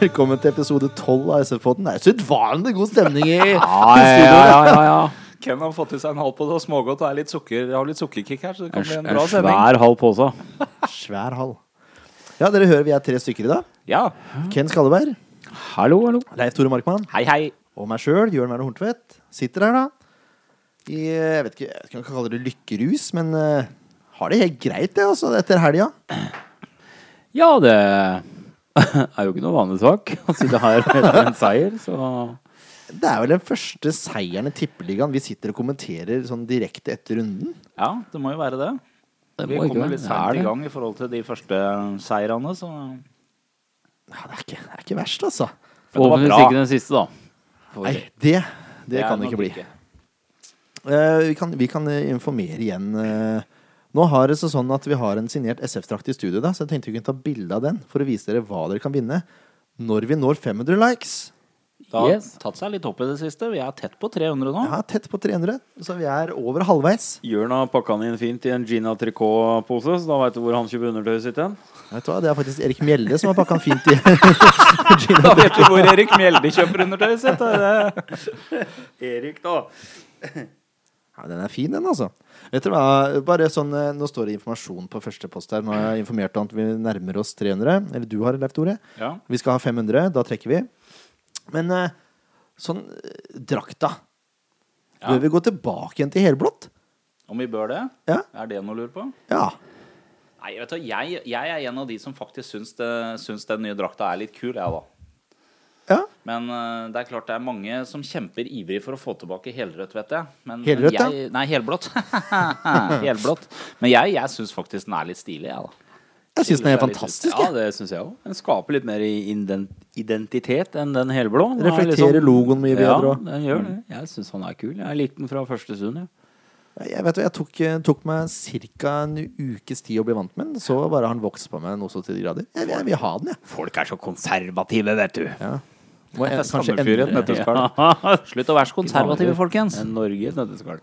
Velkommen til episode 12 av SF-podden. Det er sedvanlig god stemning i Ja, ja, ja, ja, ja. Ken har fått i seg en halv på det, og smågodt og er litt sukker, har litt sukkerkick her, så det En, kan bli en en bra sending. svær halv pose. svær hall. Ja, dere hører vi er tre stykker i dag. Ja. Ken Skalleberg, Hallo, hallo. Leif Tore Markmann Hei, hei. og meg sjøl, Jørn Werner Horntvedt, sitter her da. I eh, jeg vet ikke, jeg vet ikke om jeg kan kalle det lykkerus, men eh, har det helt greit, det, altså, etter helga. Ja, det er jo ikke noe vanlig sak å sitte her etter en seier, så Det er vel den første seieren i Tippeligaen vi sitter og kommenterer sånn direkte etter runden. Ja, det må jo være det. Det Vi må ikke være. kommer litt Det er sent i det. gang i forhold til de første seirene, så Ja, det er ikke, det er ikke verst, altså. det var Forhåpentligvis bra. ikke den siste, da. Får vi Nei, se. det, det er kan det nok ikke bli. Eh, vi, kan, vi kan eh, informere igjen. eh. nå har det seg sånn at vi har en signert SF-drakt i studio, da, så jeg tenkte vi kunne ta bilde av den for å vise dere hva dere kan vinne når vi når 500 likes. Det har Yes. tatt seg litt opp i det siste. Vi er tett på 300 nå. Ja, tett på 300, så vi er over halvveis. Jørn har pakka den inn fint i en Gina Tricot-pose, så da veit du hvor han kjøper undertøy sitt hen. Vet du hva, Det er faktisk Erik Mjelde som har pakka den fint i. Da vet du hvor Erik Mjelde kjøper undertøy sitt. er det? Erik, da. Ja, den er fin, den, altså. Vet du hva, bare sånn, eh, Nå står det informasjon på første post her. Nå har jeg informert om at vi nærmer oss 300. Eller du har, Leif Tore. Ja. Vi skal ha 500. Da trekker vi. Men eh, sånn eh, drakta Bør vi gå tilbake igjen til helblått? Om vi bør det? Ja. Er det noe å lure på? Ja. Nei, vet du, hva, jeg, jeg er en av de som faktisk syns, det, syns den nye drakta er litt kul, jeg, da. ja. Men eh, det er klart det er mange som kjemper ivrig for å få tilbake helrødt, vet jeg. Men, Helrødt, men jeg, Nei, helblått. helblått. Men jeg, jeg syns faktisk den er litt stilig, jeg, da. Jeg syns den er helt Litt fantastisk. Ja, jeg. det syns jeg òg. Den skaper litt mer i inden- identitet enn den helblå. Den er sånn- Reflekterer logoen mye bedre Ja, også. den gjør det. Jeg syns han er kul. Jeg likte den fra første stund, jeg. Jeg, vet, hva, jeg tok, eh, tok meg ca. en ukes tid å bli vant med den. Så bare har den vokst på meg noe så til de grader. Jeg, jeg vil ha den, jeg. Folk er så konservative, vet du. Ja. Må jeg Eh, Det er kanskje samme fyr i et endre- nøtteskall. Slutt å være så konservative, folkens. En Norge i et nøtteskall.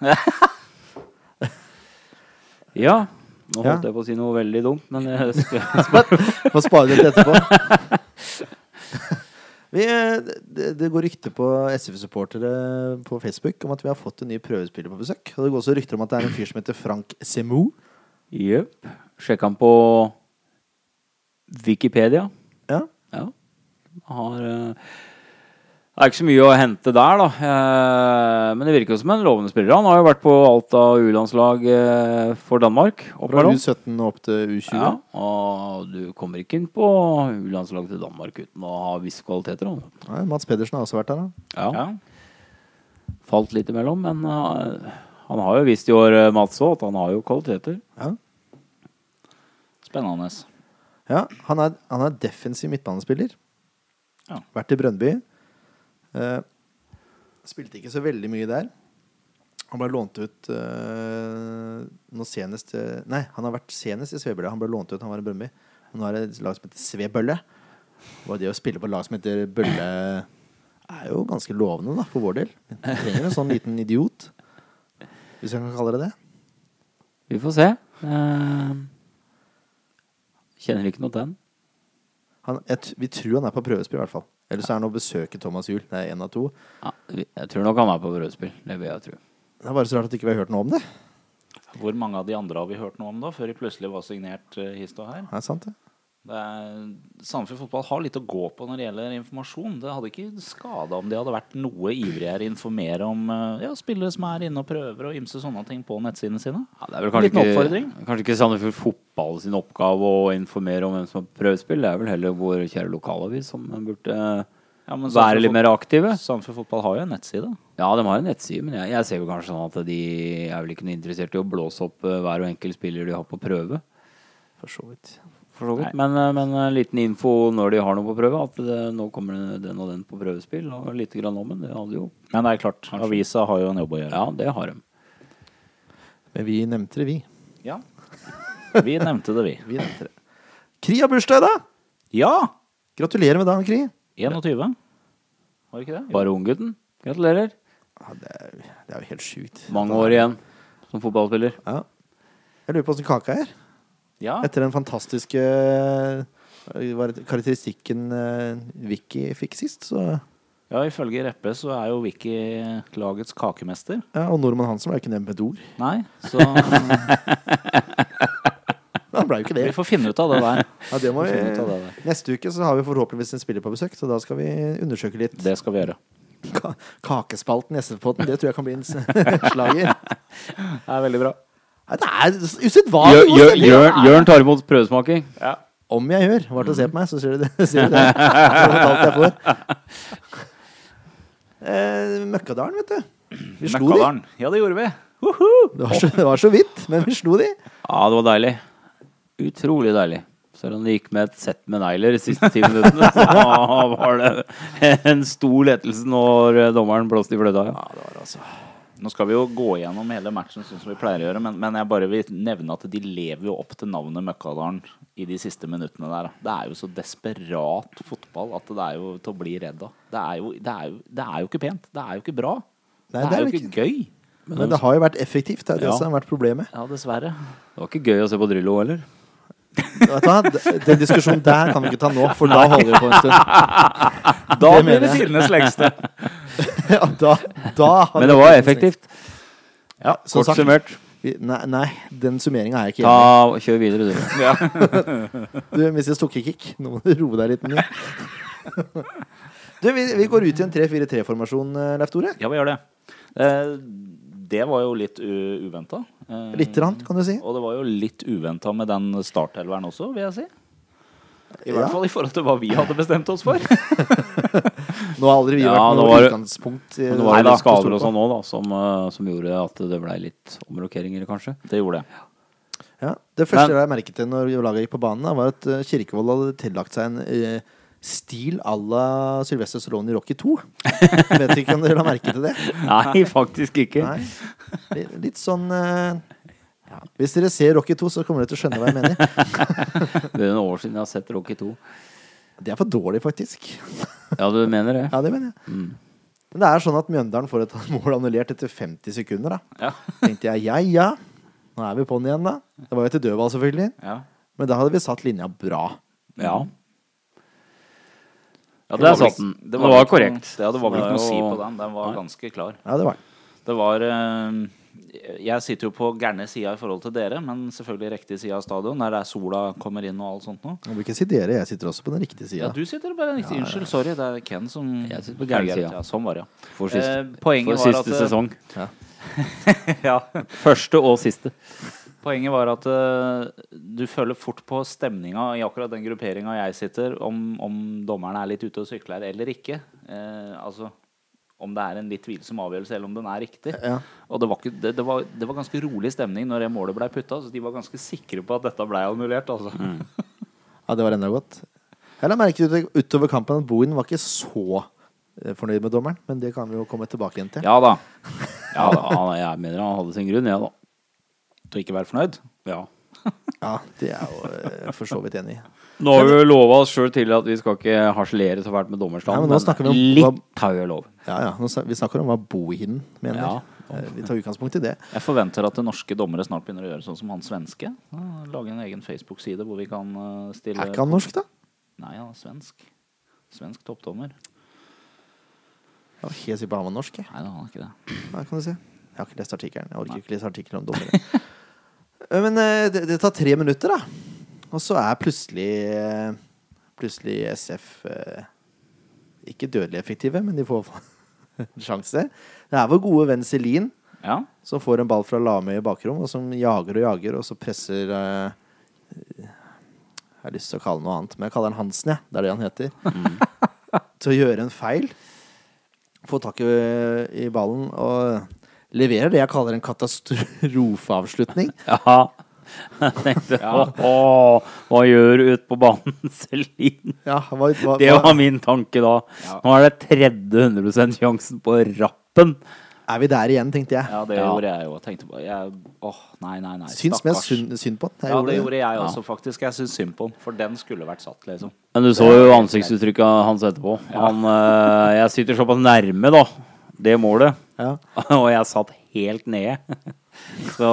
ja. Nå holdt Ja. jeg på å si noe veldig dumt, men jeg husker Få spare det til etterpå. Vi, eh, det, det går rykter på SF-supportere på Facebook om at vi har fått en ny prøvespiller på besøk. Og det går også rykter om at det er en fyr som heter Frank Semo. Jepp. Sjekka han på Wikipedia. Ja. Ja. Har eh, Det er ikke så mye å hente der, da. Eh, Men det virker jo som en lovende spiller. Han har jo vært på alt av U-landslag eh, for Danmark. opp Fra igjennom. U17 og opp til U20. Ja, og du kommer ikke inn på U-landslaget til Danmark uten å ha visse kvaliteter. da. Nei, Mats Pedersen har også vært der, da. Ja. Ja. Falt litt imellom, men eh, han har jo vist i år, eh, Mats, også, at han har jo kvaliteter. Ja. Spennende. Ja, han er, han er defensiv midtbanespiller. Ja. Vært i Brøndby. Eh, spilte ikke så veldig mye der. Han ble lånt ut eh, nå senest eh, Nei, han har vært senest i Svebølle. Han ble lånt ut, han var i Brøndby. Men Nå er det et lag som heter Svebølle. Og det å spille på et lag som heter Bølle, er jo ganske lovende, da, for vår del. Vi trenger en sånn liten idiot, hvis jeg kan kalle det det. Vi får se. Eh, Kjenner ikke noe til den. Han, jeg, t- vi tror han er på prøvespill, i hvert fall. Eller så er han og besøker Thomas Juel. Det er én av to. Ja, vi- jeg tror nok han er på brødspill. Det vil jeg tro. Det er bare så rart at ikke vi har hørt noe om det. Hvor mange av de andre har vi hørt noe om da, før de plutselig var signert uh, hist og her? Er det sant det? Det er, Sandefjord fotball har litt å gå på når det gjelder informasjon. Det hadde ikke skada om de hadde vært noe ivrigere å informere om eh, ja, spillere som er inne og prøver og ymse sånne ting på nettsidene sine. Ja, det er vel Liten kanskje oppfordring. ikke, kanskje ikke Sandefjord Fotball sin oppgave å informere om hvem som har prøvespill. Det er vel heller vår kjære lokalavis som burde eh, Ja, men være litt mer aktive. Sandefjord fotball har jo en nettside. Ja, de har en nettside, men jeg, jeg ser vel kanskje sånn at de er vel ikke noe interessert i å blåse opp eh, hver og enkelt spiller de har på prøve. For så vidt. For så vidt. Men, eh, men en liten info når de har noe på prøve, at det, nå kommer det den og den på prøvespill, og lite grann om den. Det hadde jo Men det er klart, avisa har jo en jobb å gjøre. Ja, det har de. Men vi nevnte det, vi. Ja. Vi nevnte det, vi. Vi nevnte det. Kri har bursdag i dag! Ja! Gratulerer med dagen, Kri. 21. Var det ikke det? Jo. Bare unggutten. Gratulerer. Ja, det, er, det er jo helt sjukt. Mange år igjen som fotballspiller. Ja. Jeg lurer på åssen kaka er. Ja. Etter den fantastiske Det eh, var karakteristikken eh, Vicky fikk sist, så Ja, Ifølge Reppe så er jo Vicky lagets kakemester. ja, Og Norman Hansen ble jo ikke nevnt med et ord. Nei, så vi Han ble jo ikke det. får finne ut av det der. Ja, det må Vi får finne ut av vi, det der. neste uke så har vi forhåpentligvis en spiller på besøk, så da skal vi undersøke litt. Det skal vi gjøre. Ka kakespalten i SV-podden, det tror jeg kan bli en s- slager. Det er veldig bra. Nei, det er usedvanlig Jør- god Jør- stemning. Jørn Jørn tar imot prøvesmaking. Om jeg gjør, var til å se på meg, så sier du det. Sier du det. det var alt jeg får. Eh, Møkkadalen, vet du. Vi slo de. Møkkadalen. Ja, det gjorde vi. Det var, så, det var så vidt, men vi slo de. Ja, det var deilig. Utrolig deilig. Selv om det gikk med et sett med negler de siste ti minuttene, så var det en stor lettelse når eh, dommeren blåste i fløyta. Ja. altså. Nå skal vi jo gå gjennom hele matchen sånn som vi pleier å gjøre, men, men jeg bare vil nevne at de lever jo opp til navnet Møkkadalen i de siste minuttene der. da. Det er jo så desperat fotball at det er jo til å bli redd av. Det er jo, det er jo, det er jo ikke pent. Det er jo ikke bra. Nei, det, det er er jo jo ikke gøy. Men det har jo vært effektivt. Det er det Ja. som har vært problemet. Ja, dessverre. Det var ikke gøy å se på Drillo heller. Vet du hva? D- Den diskusjonen der kan vi ikke ta nå, for da holder vi på en stund. Det Da blir mener det jeg. tidenes lengste. Ja, da, da har Men vi- det var effektivt. Ja, som Kort sagt, summert. vi- Nei, nei den summeringa er jeg ikke Ta, enig i. kjør videre, du. Du, Mr. Stukkekick, nå må du roe deg litt ned. Du, vi, vi går ut i en 3-4-3-formasjon, eh, Leif Tore. Ja, vi gjør det. Eh, det var jo litt uventa. Lite grann, kan du si. Og det var jo litt uventa med den startelveren også, vil jeg si. I Ja. hvert fall i forhold til hva vi hadde bestemt oss for. Nå har aldri vi Ja, vært nå noe var det- utgangspunkt. i- Men det var jo Nei, litt da, skader og sånn òg, da, som, eh, som gjorde at det blei litt omrokeringer, kanskje. Det gjorde det. Ja, det første jeg merket til når laget gikk på banen, da, var at eh, Kirkevold hadde tillagt seg en eh, stil à la Sylvester Stallone i Rocky 2. Vet ikke om dere la merke til det? Nei, faktisk ikke. Nei. Litt, litt sånn eh, ja. Hvis dere ser Rocky 2, så kommer dere til å skjønne hva jeg mener. Det er noen år siden jeg har sett Rocky 2. Det er for dårlig, faktisk. Ja, du mener det? Ja, det mener jeg. Mm. Men det er sånn at Mjøndalen får et mål annullert etter 50 sekunder, da. Ja. Tenkte jeg ja, ja. Nå er vi på'n igjen, da. Det var jo etter dødball, selvfølgelig. Ja. Men da hadde vi satt linja bra. Ja. Ja, Der vel satt ikke- den. Det vel var ikke noe- korrekt. Ja, det var vel Det ikke er noe å si jo- på den. Den var ganske klar. Ja, det var det. Det var eh, Jeg sitter jo på gærne sida i forhold til dere, men selvfølgelig riktig side av stadion, der det er sola kommer inn og alt sånt noe. Jeg vil ikke si dere, jeg sitter også på den riktige sida. Ja, du sitter på den riktige. Unnskyld, sorry. Det er Ken som Jeg sitter på gærne sida. Ja, sånn var det, ja. For sist- Eh, poenget For var siste at, eh, sesong. ja. Første og siste. Poenget var at eh, du føler fort på stemninga i akkurat den grupperinga jeg sitter, om, om dommeren er litt ute og sykler eller ikke. Eh, altså om det er en litt tvilsom avgjørelse, eller om den er riktig. Ja. Og det var, ikke, det, det, var, det var ganske rolig stemning når det målet blei putta, så de var ganske sikre på at dette blei annullert, altså. Ja, det var enda godt. Jeg la merke til utover kampen at Bohin var ikke så eh, fornøyd med dommeren, men det kan vi jo komme tilbake igjen til. Ja da. Ja, da, han- jeg mener han hadde sin grunn, jeg, da. Til å ikke være fornøyd? Ja. Ja, det er jeg jo eh, for så vidt enig i. Nå har vi jo lova oss sjøl til at vi skal ikke harselere så fælt med Nei, dommerstanden, men nå snakker vi om hva- litt har vi lov. Ja, ja. Nå, snak- vi snakker om hva Bohin mener. Ja. Eh, Vi tar utgangspunkt i det. Jeg forventer at det norske dommere snart begynner å gjøre sånn som han svenske. Ja, Lage en egen Facebook-side hvor vi kan eh, stille Er ikke han norsk, da? Nei, han er svensk. Svensk toppdommer. Jeg var helt sikker på han var norsk. Jeg. Nei, han er ikke det. Ja, kan du se. Jeg har ikke lest artikkelen. Jeg orker ikke lese artikler om dommere. Eh, Men eh, det, det tar tre minutter, da. Og så er plutselig eh, Plutselig SF eh, ikke dødelig effektive, men de får en sjanse. Det er vår gode venn Celine Ja. som får en ball fra Lamøy i bakrom, og som jager og jager, og så presser eh, Jeg har lyst til å kalle han noe annet, men jeg kaller han Hansen, jeg. Det er det han heter. Mm. til å gjøre en feil. Får tak i, i ballen og leverer det jeg kaller en katastrofeavslutning. Ja. Jeg tenkte å, å, hva gjør du ute på banen, Celine? Ja, hva, hva, Det hva, var min tanke da. Nå er det 30 sjansen på rappen. er vi der igjen, tenkte jeg. ja, det Ja. gjorde jeg jo. Tenkte bare jeg, Åh, nei, nei, nei. Syns mest synd, synd på den. Jeg Ja, gjorde det det. gjorde jeg også, faktisk. Jeg syns synd på den, for den skulle vært satt, liksom. Men du så jo ansiktsuttrykket hans etterpå. Han, eh, jeg sitter såpass nærme, da, det målet. Ja. Og jeg satt helt nede. Så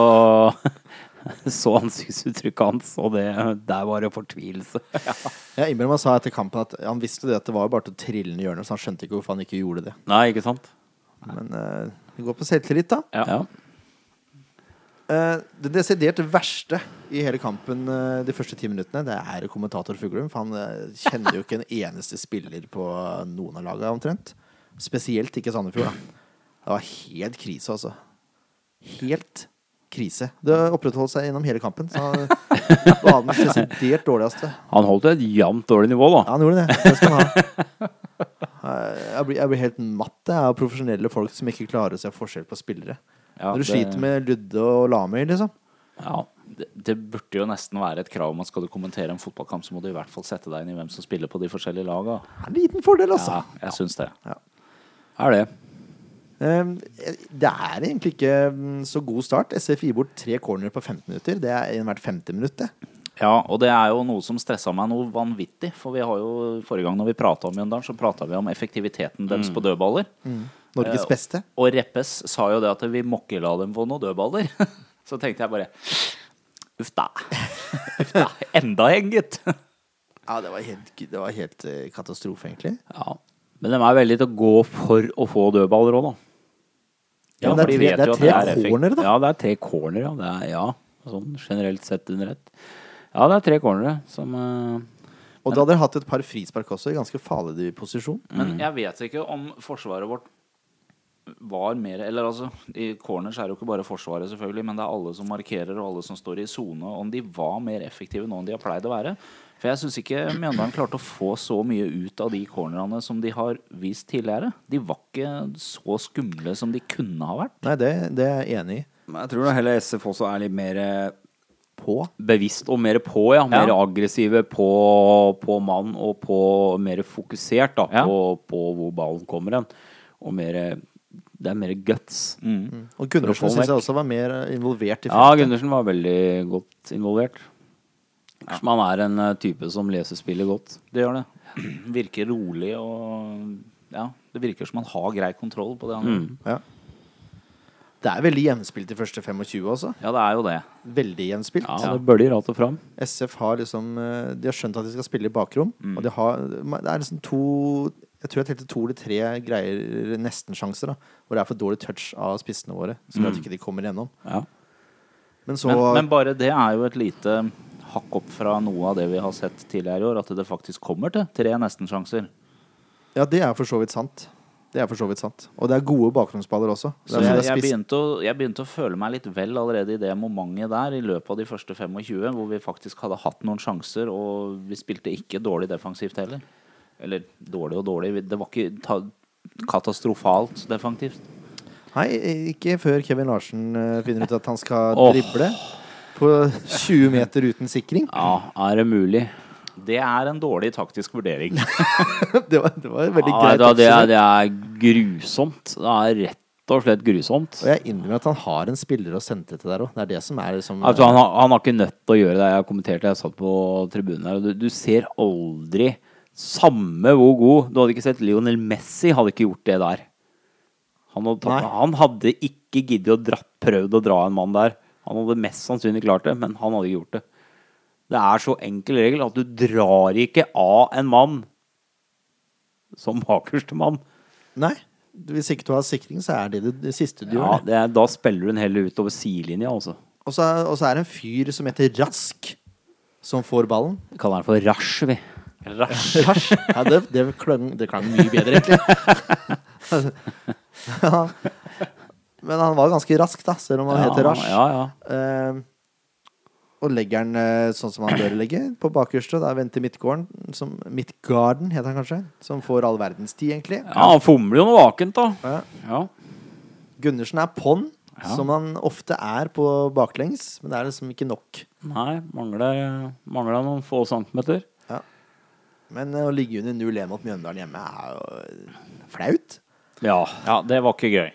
så ansiktsuttrykket hans, og det der var det fortvilelse. Jeg innbiller meg sa etter kampen at han visste det at det var bare til å trille ned i hjørnet, så han skjønte ikke hvorfor han ikke gjorde det. Nei, ikke sant? Men eh, det går på selvtillit, da. Ja. ja. Eh, det desidert verste i hele kampen eh, de første ti minuttene, det er kommentator Fuglum. For han eh, kjenner jo ikke en eneste spiller på noen av lagene, omtrent. Spesielt ikke Sandefjord, da. Det var helt krise, altså. Helt krise. Det opprettholdt seg gjennom hele kampen. Så han var den desidert dårligste. Han holdt et jevnt dårlig nivå, da. Ja, han gjorde det. Det skal han ha. Eh, Jeg blir, jeg blir helt matt jeg, av profesjonelle folk som ikke klarer å se forskjell på spillere. Ja, Når du det- sliter med Ludde og Lamøy, liksom. Ja. Det, det burde jo nesten være et krav om at skal du kommentere en fotballkamp, så må du i hvert fall sette deg inn i hvem som spiller på de forskjellige laga. Det er en liten fordel, altså. Ja, jeg syns det. Er det. Ehm, Det er egentlig ikke mm, så god start. SF gir bort tre corner på 15 minutter. Det er en hvert femte minutt, det. Ja, og det er jo noe som stressa meg noe vanvittig. For vi har jo forrige gang når vi prata om Mjøndalen, så prata vi om effektiviteten deres Mm. på dødballer. Norges Eh, beste. Og Reppes sa jo det at vi må ikke la dem få noen dødballer. Så tenkte jeg bare Uff da. Uff da. Enda en, gitt. Ja, det var helt, det var helt eh, katastrofe, egentlig. Ja. Men de er veldig til å gå for å få dødballer òg, da. Ja, men for det de er tre- vet det er jo at tre effektivt. corner. Cornere, da? Ja, det er tre corner, ja. Det er, ja. Sånn generelt sett under ett. Ja, det er tre cornere som eh, Og da hadde dere hatt et par frispark også, i ganske farlig posisjon. Men jeg vet ikke om forsvaret vårt var mer Eller altså, i corners er det jo ikke bare Forsvaret, selvfølgelig, men det er alle som markerer, og alle som står i sone. Om de var mer effektive nå enn de har pleid å være. For jeg syns ikke Mjøndalen klarte å få så mye ut av de cornerne som de har vist tidligere. De var ikke så skumle som de kunne ha vært. Nei, det, det er jeg enig i. Men jeg tror da heller SF også er litt mer eh, På. bevisst og mer på, ja. Mer Ja. aggressive på, på mann og på mer fokusert da, Ja. på, på hvor ballen kommer hen. Og mer eh, Det er mer guts. Og For å Gundersen få syns jeg vekk. også var mer eh, involvert i Ja, feltet. Gundersen var veldig godt involvert. Kanskje man er en eh, type som leser spillet godt. Det gjør det. Virker rolig og Ja, det virker som han har grei kontroll på det han gjør. Ja. Det er veldig jevnspilt de første 25 også. Ja, det er jo det. Veldig jevnspilt. Ja, det bølger alt og fram. SF har liksom eh, De har skjønt at de skal spille i bakrom. Og de har, det er liksom to Jeg tror jeg telte to eller tre greier nesten-sjanser. da Hvor det er for dårlig touch av spissene våre. Som gjør at ikke de kommer gjennom. Ja. Men så Men, men bare det er jo et lite hakk opp fra noe av det vi har sett tidligere i år, at det faktisk kommer til tre nestensjanser. Ja, det er for så vidt sant. Det er for så vidt sant. Og det er gode bakgrunnsballer også. Det Så er- jeg, det er jeg, spiss- begynte å, jeg begynte å føle meg litt vel allerede i det momentet der, i løpet av de første 25, hvor vi faktisk hadde hatt noen sjanser, og vi spilte ikke dårlig defensivt heller. Eller dårlig og dårlig, vi- det var ikke ta, katastrofalt defensivt. Nei, ikke før Kevin Larsen eh, finner ut at han skal Åh. drible på 20 meter uten sikring. Ja, er det mulig? Det er en dårlig taktisk vurdering. Det var, det var veldig Ja, greit. vet du hva, det, er, oppsummert. det er grusomt. Det er rett og slett grusomt. Og jeg innrømmer at han har en spiller å sende til der òg. Det er det som er liksom Altså, han, har- han har ikke nødt til å gjøre det. Jeg kommenterte, jeg satt på tribunen her, og du, du ser aldri Samme hvor god Du hadde ikke sett Lionel Messi hadde ikke gjort det der. Han hadde, tatt, Nei. han hadde ikke giddet å dra, prøvd å dra en mann der. Han hadde mest sannsynlig klart det, men han hadde ikke gjort det. Det er så enkel regel at du drar ikke av en mann som bakerste mann. Nei. Hvis ikke du har sikring, så er det det, det siste du Ja, gjør. det er, da spiller hun heller utover sidelinja, altså. Og så er, og så er det en fyr som heter Rask, som får ballen. Vi kaller den for Rash, vi. Rask. Ja, det, det, klang, det klang mye bedre, egentlig. Ja. Men han var ganske rask, da, selv om han Ja, heter Rash. Ja, ja. Eh, og legger den eh, sånn som han bør legge, på bakerste. Da venter Midtgården, som Midtgarden heter han kanskje, som får all verdens tid, egentlig. Ja, han fomler jo noe vakent, da. Ja. Ja. Gundersen er på'n, som han ofte er på baklengs, men det er liksom ikke nok. Nei, mangler, mangler noen få centimeter. Men eh, å ligge under 0-1 mot Mjøndalen hjemme er jo eh, flaut. Ja. Ja, det var ikke gøy.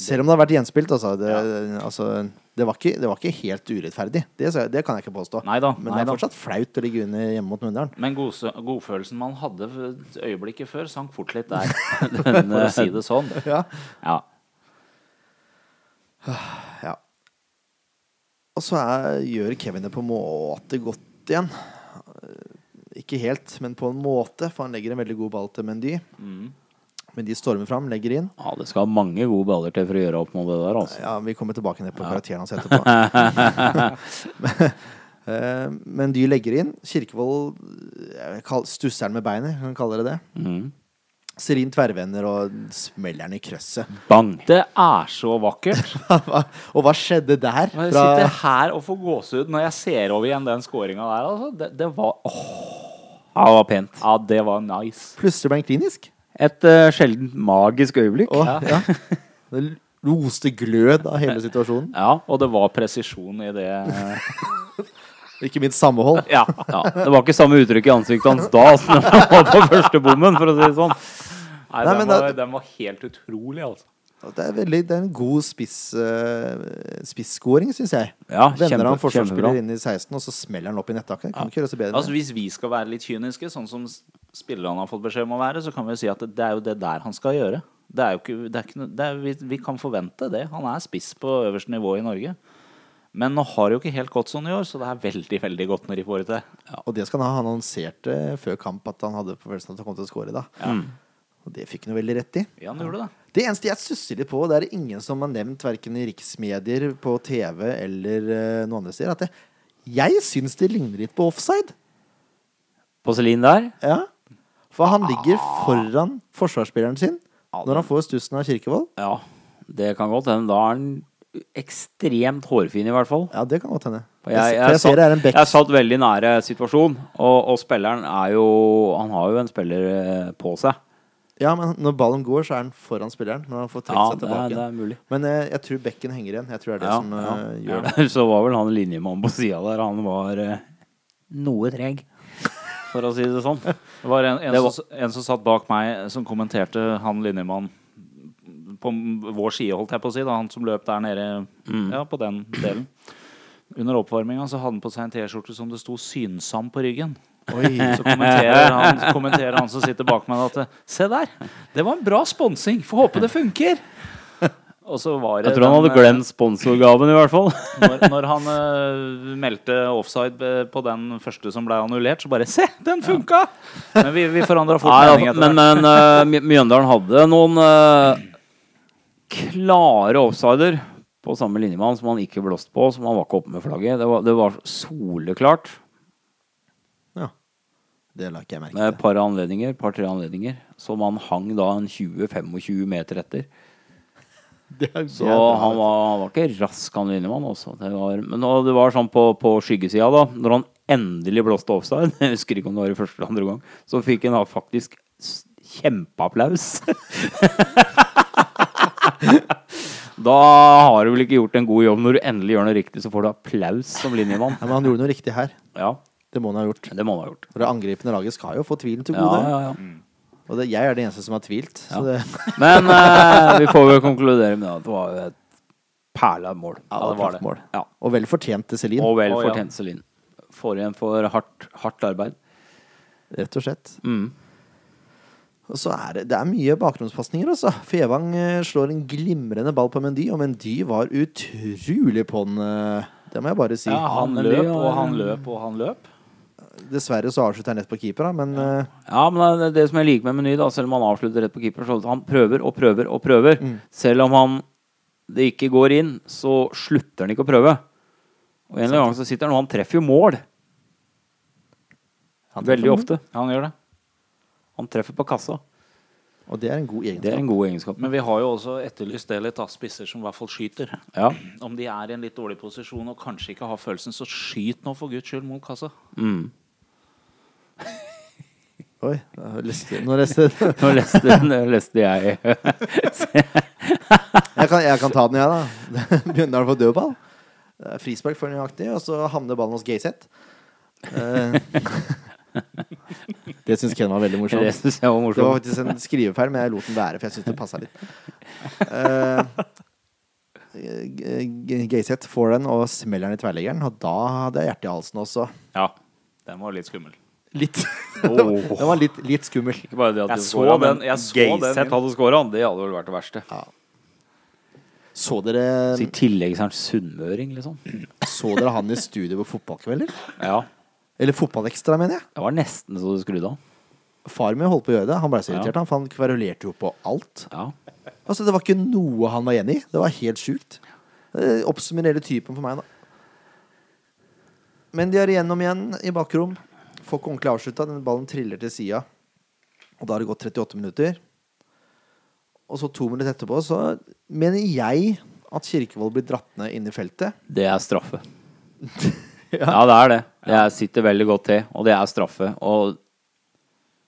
Selv om det har vært gjenspilt, altså. Det, altså, det, var, ikke, det var ikke helt urettferdig. Det, sa jeg- det kan jeg ikke påstå. Neida, Men det er neida. fortsatt flaut å ligge under hjemme mot Mjøndalen. Men godsø- godfølelsen man hadde et øyeblikket før, sank fort litt der. For å si det sånn. Ja. Ja. ja. Og så er, gjør Kevin det på en måte godt igjen. Eh, Ikke helt, men på en måte, for han legger en veldig god ball til Mendy. Mendy stormer fram, legger inn. Ja, det skal mange gode baller til for å gjøre opp med det der, altså. Ja, Vi kommer tilbake ned på karakteren hans etterpå. Eh, Men de legger inn. Kirkevold eh, jeg vil kalle- stusser den med beinet, kan vi kalle det det. Mhm. Serin tverrvender og smeller den i krøsset. Bang! Det er så vakkert. og hva skjedde der? Og Jeg Fra- sitter her og får gåsehud når jeg ser over igjen den scoringa der. Altså. Det, det var åh, Ja, det var pent. Ja, det var nice. Plutselig ble han klinisk. Et eh, sjeldent magisk øyeblikk. Og, ja. Det roste glød av hele situasjonen. Ja, og det var presisjon i det. Ikke minst samhold. Ja. Ja, det var ikke samme uttrykk i ansiktet hans da som det var på første bommen, for å si det sånn. Nei, Nei, den, men var, det- den var helt utrolig, altså. Det er, veldig, det er en god spiss, eh, spisskåring, syns jeg. Ja, Vender han kjempe- kjempebra. forsvarsspiller inn i 16, og så smeller han opp i nettaket. Kan ikke gjøre så bedre. Altså Hvis vi skal være litt kyniske, sånn som s- spillerne har fått beskjed om å være, så kan vi jo si at det det er jo det der han skal gjøre. Det er jo ikke, det er ikke, noe- det er, vi, vi kan forvente det. Han er spiss på øverste nivå i Norge. Men nå har det jo ikke helt gått sånn i år, så det er veldig veldig godt når de får det til. Og det skal han ha. Han annonserte før kamp at han hadde på følelsen at han kom til å skåre da. Mm. Og det fikk han jo veldig rett i. Ja, han gjorde det. Det eneste jeg susser litt på, det er det ingen som har nevnt verken i riksmedier, på TV eller uh, noen andre steder, at det, jeg syns det ligner litt på offside. Porselin der? Ja. For han ligger Ah. foran forsvarsspilleren sin når han får stussen av Kirkevold. Ja, det kan godt hende. Da er han ekstremt hårfin, i hvert fall. Ja, det kan godt hende. Og Jeg, Jeg, jeg, for jeg ser det er en satt, back. jeg satt veldig nære situasjonen, og, og spilleren er jo Han har jo en spiller eh, på seg. Ja, men når ballen går, så er han foran spilleren. Når han får trukket Ja, seg det er, tilbake. det er mulig. Men eh, jeg tror bekken henger igjen. Jeg tror det er det Ja, som ja. eh, gjør det. Så var vel han linjemannen på sida der, han var eh, noe treg, for å si det sånn. Det var en, en, Det var- Som, en som satt bak meg, som kommenterte han linjemannen på vår side, holdt jeg på å si, da, han som løp der nede Mm. ja, på den delen. Under oppvarminga så hadde han på seg en T-skjorte som det sto 'Synsam' på ryggen. Så kommenterer han, kommenterer han som sitter bak meg at 'Se der, det var en bra sponsing, får håpe det funker'. Og så var det Jeg tror han den, hadde glemt sponsorgaven, i hvert fall. når, når han eh, meldte offside eh, på den første som ble annullert, så bare Se, den funka! Men vi, vi forandra fort Nei, mening altså, etter men hvert. men eh, My- Mjøndalen hadde noen eh, klare offsider på samme linjemann som han ikke blåste på, som han var ikke oppe med flagget. Det var, det var soleklart Ja. Det la ikke jeg merke med Eh, et til. par anledninger, par-tre anledninger, som han hang da en 20-25 meter etter. Så han var, han var ikke rask, han linjemann også. Det var, men og det var sånn på, på skyggesida, da. Når han endelig blåste offside, jeg husker ikke om det var i første eller andre gang, så fikk han da faktisk s- kjempeapplaus. da har du vel ikke gjort en god jobb. Når du endelig gjør noe riktig, så får du applaus som linjemann. ja, Men han gjorde noe riktig her. Ja, Det må han ha gjort. det må han ha gjort. For det angripende laget skal jo få tvilen til Ja, gode. ja, ja. Og det, jeg er den eneste som har tvilt. Så det, Men eh, vi får vel konkludere med at det var jo et perla mål. ja, det var det. Ja. Og vel fortjent til Celine, Og vel Å, ja. fortjent Celine. Får igjen for hardt, hardt arbeid. rett og slett. Mm. Og så er det, det er mye bakgrunnspasninger, altså. Fevang eh, slår en glimrende ball på Mendy, og Mendy var utrolig på'n. Det må jeg bare si. Ja, han men løp de og var- han løp og han løp. Dessverre så avslutter han rett på keeper, da, men eh, Ja, men det, er det som jeg liker med Meny, da, selv om han avslutter rett på keeper, så han prøver og prøver og prøver. Mm. Selv om han det ikke går inn, så slutter han ikke å prøve. Og en eller annen gang så sitter han, og han treffer jo mål. han treffer Veldig den, ofte. Han gjør det. Han treffer på kassa. Og det er en god egenskap. Det er en god egenskap. Men vi har jo også etterlyst det litt, da. Spisser som i hvert fall skyter. Ja. Om de er i en litt dårlig posisjon og kanskje ikke har følelsen, så skyt nå for guds skyld mot kassa. Mm. Oi, jeg har lyst til- nå leste jeg Nå leste, nå leste jeg Sånn. kan, jeg kan ta den, jeg, da. Begynner han å få dødball. Det er Frispark for nøyaktig, og så havner ballen hos Gayseth. Eh, det syns Ken var veldig morsomt. Det syns jeg Det var var morsomt. faktisk en skrivefeil, men jeg lot den være, for jeg syntes det passa litt. Uh, Gayseth får den og smeller den i tverrleggeren, og da hadde jeg hjertet i halsen også. Ja. Den var litt skummel. Litt. det var, den var litt, litt skummel. Ikke bare det at Jeg du så scora, den- men jeg så den inn. Gayseth hadde scora. Det hadde vel vært det verste. Så dere, Så I tillegg så er han sunnmøring, liksom. Så dere han i studio på fotballkvelder? Ja. Eller Fotballekstra, mener jeg. Det var nesten så du skrudde av. Far min holdt på å gjøre det. Han ble så irritert. Han, for han kverulerte jo på alt. Ja. Altså, det var ikke noe han var enig i. Det var helt sjukt. Det Oppsummerer hele typen for meg, da. Men de er igjennom igjen i bakrom. Får ikke ordentlig avslutta. Den ballen triller til sida. Og da har det gått 38 minutter. Og så to minutter etterpå så mener jeg at Kirkevold blir dratt ned inne i feltet. Det er straffe. ja. det er det. Det er- sitter veldig godt til, og det er straffe. Og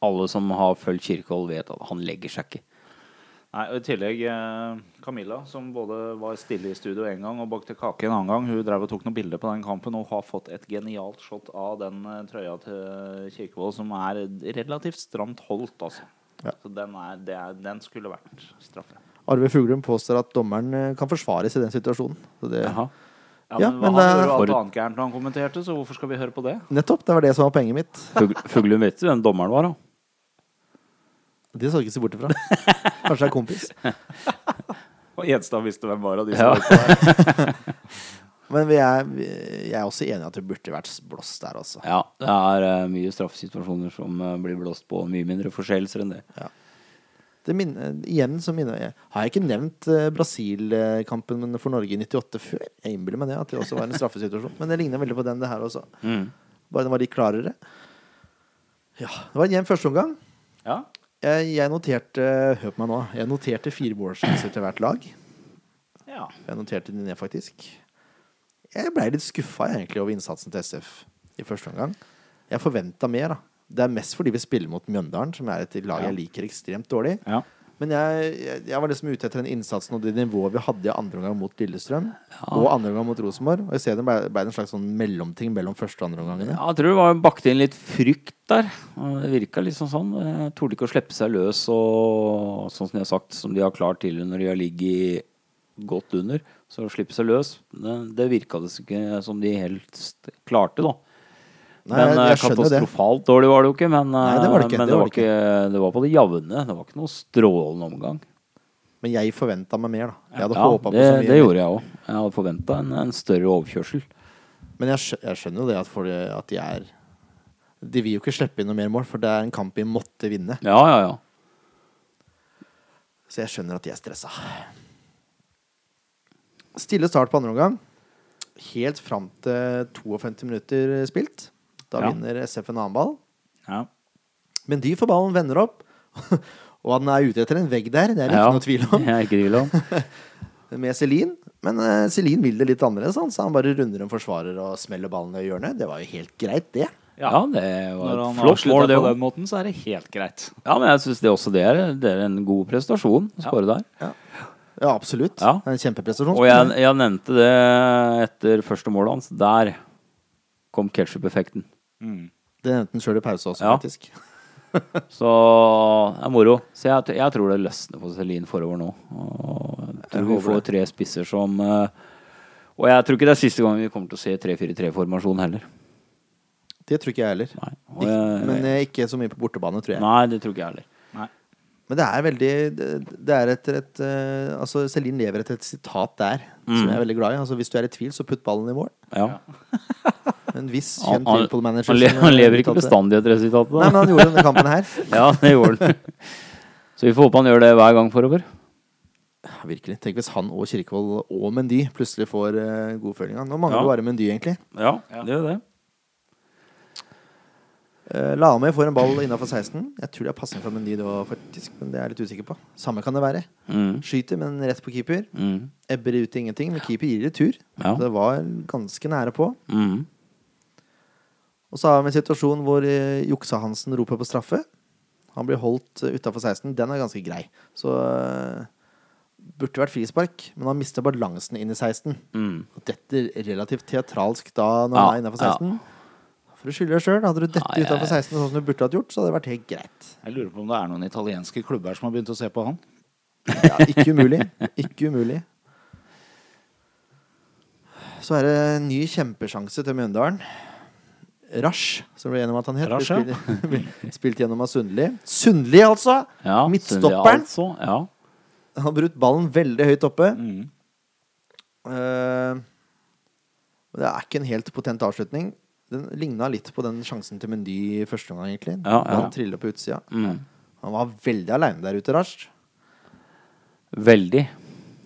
alle som har fulgt Kirkehold, vet at han legger seg ikke. Nei, og I tillegg eh, Camilla, som både var stille i studio en gang og bakte kake en annen gang. Hun drev og tok noen bilder på den kampen og har fått et genialt shot av den eh, trøya til Kirkevold, som er relativt stramt holdt, altså. Så den, er, det er, den skulle vært straffe. Arve Fuglum påstår at dommeren eh, kan forsvares i den situasjonen. Så det, Jaha. Ja, Ja, men, men han det- gjorde jo alt For- annet gærent da han kommenterte, så hvorfor skal vi høre på det? nettopp. Det var det som var poenget mitt. Fugl- Fuglum, vet du hvem dommeren var, da? Det så du ikke se bort ifra. Kanskje det er kompis. Og Gjenstad visste hvem var av de Ja. som var på der. Men vi er, vi, jeg er også enig i at det burde vært blåst der, altså. Ja, det er eh, mye straffesituasjoner som eh, blir blåst på, og mye mindre forseelser enn det. Det minner, igjen så minner jeg Har jeg ikke nevnt eh, Brasil-kampen for Norge i 98 før? Jeg innbiller meg det, at det også var en straffesituasjon. Men det ligner veldig på den det her også. Bare den var litt klarere. Ja, Det var en jevn førsteomgang. Ja. Jeg, jeg noterte Hør på meg nå. Jeg noterte fire målsjanser til hvert lag. ja. Jeg noterte de ned, faktisk. Jeg blei litt skuffa egentlig over innsatsen til SF i første omgang. Jeg forventa mer, da. Det er mest fordi vi spiller mot Mjøndalen, som er et lag jeg liker ekstremt dårlig. Ja. Men jeg, jeg, jeg var liksom ute etter den innsatsen og det nivået vi hadde i andre omgang mot Lillestrøm, og andre omgang mot Rosenborg. Og i stedet ble ble det en slags sånn mellomting mellom første og andre omgangene. Ja, jeg tror det var bakt inn litt frykt der. Og Det virka liksom sånn. Jeg torde ikke å slippe seg løs og sånn som de har sagt, som de har klart tidligere når de har ligget godt under. Så å slippe seg løs, det, det virka det ikke som de helt st- klarte, da. Nei, men jeg- eh, jeg skjønner det. katastrofalt dårlig var det jo ikke. Men, eh, Nei, det var det ikke, men det det, var var det ikke. ikke- det var på det jevne. Det var ikke noe strålende omgang. Men jeg forventa meg mer, da. Jeg hadde Ja, håpet på det, så mye. det mer. gjorde jeg òg. Jeg hadde forventa en, en større overkjørsel. Men jeg, skjø- jeg skjønner jo det at, for, at de er De vil jo ikke slippe inn noe mer mål, for det er en kamp vi måtte vinne. Ja, ja, ja. Så jeg skjønner at de er stressa. Stille start på andre omgang. Helt fram til 52 minutter spilt. Da Ja. vinner SF en annen ball. ja. Men de får ballen, vender opp. Og at den er ute etter en vegg der, det er det Ja. ikke noe tvil om. Jeg er ikke i tvil om. Med Celine. Men eh, Celine vil det litt annerledes, han, så han bare runder en forsvarer og smeller ballen i hjørnet. Det var jo helt greit, det. Ja, det var Når et han flott mål, avslutter det på òg. den måten, så er det helt greit. Ja, men jeg syns det også det er, det er en god prestasjon å skåre der. Ja, absolutt. Ja. Det er En kjempeprestasjon. Og jeg, jeg nevnte det etter første målet hans. Der kom ketchup-effekten. Mm. Det nevnte han sjøl i pause også, Ja. faktisk. Så det er moro. Så jeg, jeg tror det løsner på Celine forover nå. Og jeg tror vi får tre spisser som eh, Og jeg tror ikke det er siste gang vi kommer til å se 3-4-3-formasjon heller. Det tror ikke jeg heller. Nei. Og Ik jeg- men eh, ikke så mye på bortebane, tror jeg. Nei, det tror ikke jeg heller. Nei. Men det er veldig Det det er etter et eh, Altså, Celine lever etter et sitat der Mm. som jeg er veldig glad i. Altså, hvis du er i tvil, så putt ballen i mål. Ja. En viss Han, kjent han, Liverpool-manager. han, le- som, eh, han lever ikke uttalte det. bestandig etter resultatet, Nei, da. men han gjorde det under kampen her. Ja, det gjorde han. Så vi får håpe han gjør det hver gang forover. Ja, Virkelig. Tenk hvis han og Kirkevold og Mendy plutselig får eh, godfølinga. Nå mangler Ja. det bare Mendy, egentlig. Ja, det gjør det. Eh, Lame får en ball innafor 16. Jeg tror det er passing fra Mendy, det var faktisk, men det er jeg litt usikker på. Samme kan det være. Mm. Skyter, men rett på keeper. Mm. Ebber ut i ingenting, men keeper gir retur. Ja. Det var ganske nære på. Mm. Og så har vi en situasjon hvor eh, Juksa Hansen roper på straffe. Han blir holdt utafor 16. Den er ganske grei. Så eh, burde vært frispark, men han mister balansen inn i 16. Mm. Og Dette relativt teatralsk da når Ja, han er innafor 16. For å skylde deg sjøl, hadde du dette Nei, utafor 16 sånn som du burde hatt gjort, så hadde det vært helt greit. Jeg lurer på om det er noen italienske klubber som har begynt å se på han. Ja, ikke umulig. Ikke umulig. Så er det en ny kjempesjanse til Mjøndalen. Rasch, som ble gjennom at han het. Rasch, ja. Ble spilt, ble spilt gjennom av Sundli. Sundli, altså! Ja, Midtstopperen. Sundia Altså. Ja. Mm. Han har brutt ballen veldig høyt oppe. Eh, Men det er ikke en helt potent avslutning. Den ligna litt på den sjansen til Mendy i første omgang, egentlig. Ja, ja. Han trilla på utsida. Mm. Han var veldig aleine der ute, Rasch. Veldig.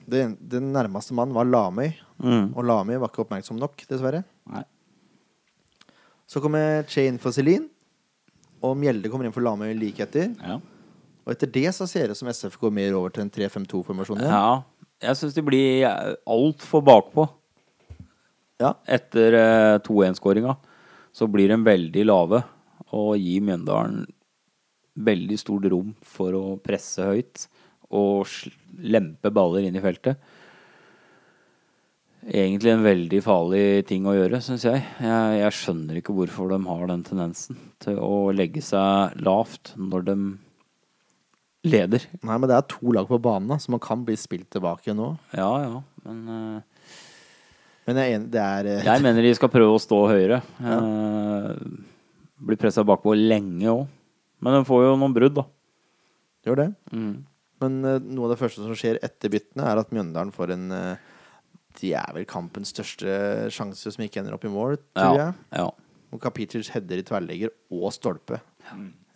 Den, den nærmeste mannen var Lamøy, Mm. og Lamøy var ikke oppmerksom nok, dessverre. Nei. Så kommer Che inn for Celine, og Mjelde kommer inn for Lamøy like etter. Ja. Og etter det så ser det ut som SF går mer over til en 3-5-2-formasjon igjen. Ja. Jeg syns de blir altfor bakpå. Ja. Etter eh, 2-1-skåringa så blir de veldig lave og gir Mjøndalen veldig stort rom for å presse høyt og sl- lempe baller inn i feltet. Egentlig en veldig farlig ting å gjøre, syns jeg. jeg. Jeg skjønner ikke hvorfor de har den tendensen til å legge seg lavt når de leder. Nei, men det er to lag på banen, da, så man kan bli spilt tilbake nå. Ja, ja, men eh, Men jeg er enig, det er eh, Jeg mener de skal prøve å stå høyere. Eh, blir pressa bakpå lenge òg. Men de får jo noen brudd, da. det gjør det. Mm. Men eh, noe av det første som skjer etter byttene, er at Mjøndalen får en eh, De er vel kampens største sjanse som ikke ender opp i mål, tror Ja, jeg. ja. Og Kapitic header i tverrlegger og stolpe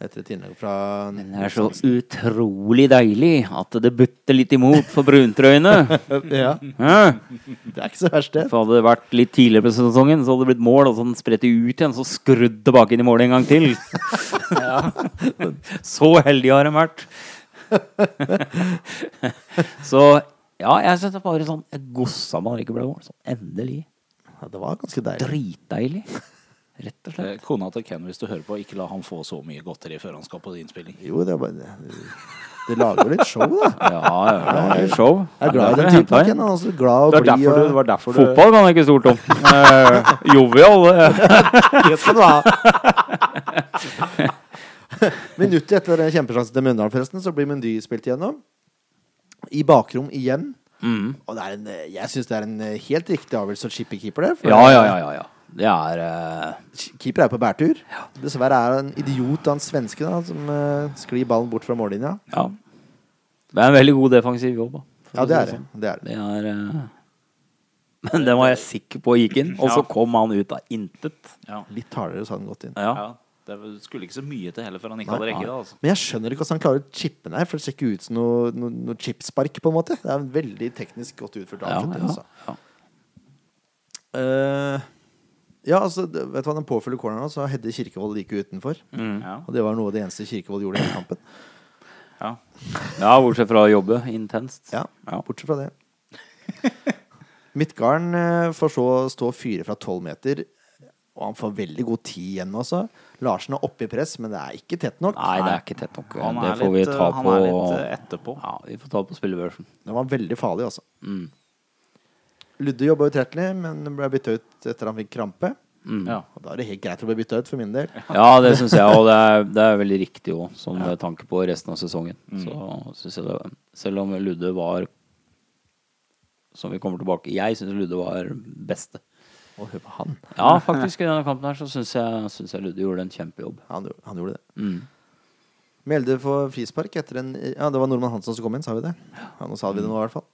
etter et innlegg fra Men det er så utrolig deilig at det butter litt imot for bruntrøyene. Eh, Ja, Hæ? det er ikke så verst, det. For hadde det vært litt tidligere på sesongen, så hadde det blitt mål, og så hadde den spredt det ut igjen, så skrudd tilbake inn i målet en gang til. Så heldige har de vært. Så ja, jeg syns det er bare sånn Jeg gossa meg når det ikke ble mål. Sånn endelig. Ja, det var ganske deilig. Dritdeilig. Rett og slett. Eh, Kona til Ken, hvis du hører på, ikke la han få så mye godteri før han skal på innspilling. Jo, det er bare Det, det lager jo litt show, da. Ja, ja, det var litt show. Jeg er glad i Det den typen. hentet Ken. inn. Han er også glad eh, og Det var blid. derfor du, det og- var derfor du Fotball kan jeg ikke stort om. Eh, Jovial. eh. Det skal du ha. Minuttet etter kjempesjansen til Mjøndalen, forresten, så blir Mendy spilt igjennom. I bakrom igjen. Og det er en, eh, jeg syns det er en eh, helt riktig avgjørelse å chippe keeper, det. for Ja, ja, ja, ja. ja. Det er eh, Keeper er på bærtur. Dessverre er han en idiot, han svensken, da, som eh, sklir ballen bort fra mållinja. Ja. Det er en veldig god defensiv jobb, da. for Ja, å si det er sånn. det. det, er det. Det er eh, Men den var jeg sikker på gikk inn, og så kom han ut av intet. ja. Litt hardere så hadde han gått inn. Ja. ja. Det skulle ikke så mye til heller før han ikke hadde rekket det. altså. Men jeg skjønner ikke hvordan han klarer å chippe den her, for det ser ikke ut som noe, noe, noe chipspark, på en måte. Det er en veldig teknisk godt utført Ja, avslutning, ja, altså. ja. Eh, ja, altså, det- vet du hva, den påfølger corneren, så Hedde Kirkevold like utenfor. Ja. Og det var noe av det eneste Kirkevold gjorde i hele kampen. Ja. ja, bortsett fra å jobbe intenst. Ja, Ja. bortsett fra det. Midtgarden eh, får så stå og fyre fra tolv meter, og han får veldig god tid igjen også. Larsen er oppe i press, men det er ikke tett nok. Nei, det er ikke tett nok. Han det er får litt, vi ta eh, han på er litt, eh, etterpå. Ja, vi får ta det på spillebørsen. Den var veldig farlig, altså. Mm. Ludde jobba utrettelig, men ble bytta ut etter han fikk krampe. Mm. Ja. Og da er det helt greit å bli bytta ut, for min del. Ja, det syns jeg, og det er, det er veldig riktig òg, sånn med tanke på resten av sesongen. Så synes jeg det, selv om Ludde var Som vi kommer tilbake Jeg syns Ludde var beste. Og hør på han. Ja, faktisk, i denne kampen her så syns jeg, synes jeg Ludde gjorde en kjempejobb. Han, gjorde- han gjorde det. Mjelde får frispark etter en Ja, det var Nordmann Hansen som kom inn, sa vi det? Ja, nå sa vi det nå, i hvert fall.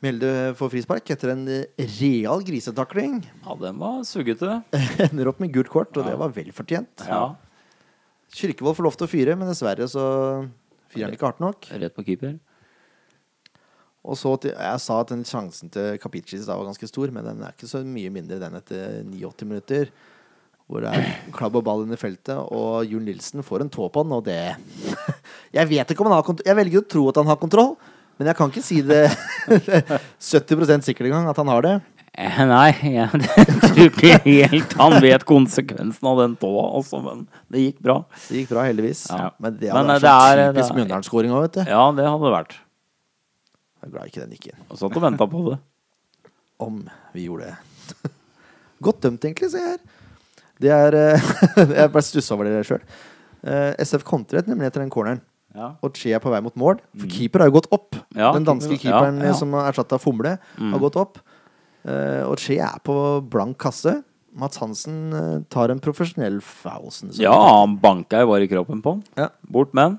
Mjelde får frispark etter en eh, real grisetakling. Ja, den var suggete. Ender opp med gult kort, og det var vel fortjent. Ja. Kirkevold får lov til å fyre, men dessverre så fyrer han ikke hardt nok. Rett på keeper. Og så til, Jeg sa at den sjansen til Kapici i stad var ganske stor, men den er ikke så mye mindre den etter 89 minutter. Hvor det er klabb og ball inn i feltet, og Jul Nilsen får en tå på den, og det Jeg vet ikke om han har kontroll Jeg velger å tro at han har kontroll, men jeg kan ikke si det 70 sikkert engang at han har det. Eh, Nei, jeg tror ikke helt han vet konsekvensen av den tåa, altså, men det gikk bra. Det gikk bra, heldigvis. Ja. Men det Men, hadde eh, vært det sånn er- det typisk er- Mjøndalen-skåring òg, vet du. Ja, det hadde det vært. Jeg er glad ikke den gikk inn. Og satt og venta på det. om vi gjorde det. Godt dømt, egentlig, ser jeg her. Det er eh, Jeg bare stussa over det Eh, sjøl. SF kontret nemlig etter den corneren. Ja. Og Che er på vei mot mål. For keeper har jo gått opp. Mm. Ja, den danske keeper- ja, keeperen eh, ja. Mm. som er erstatta av Fomle, har gått opp. Eh, og Che er på blank kasse. Mats Hansen eh, tar en profesjonell Fausen. Ja, han banka jo bare i kroppen på han. Ja. Bort med han.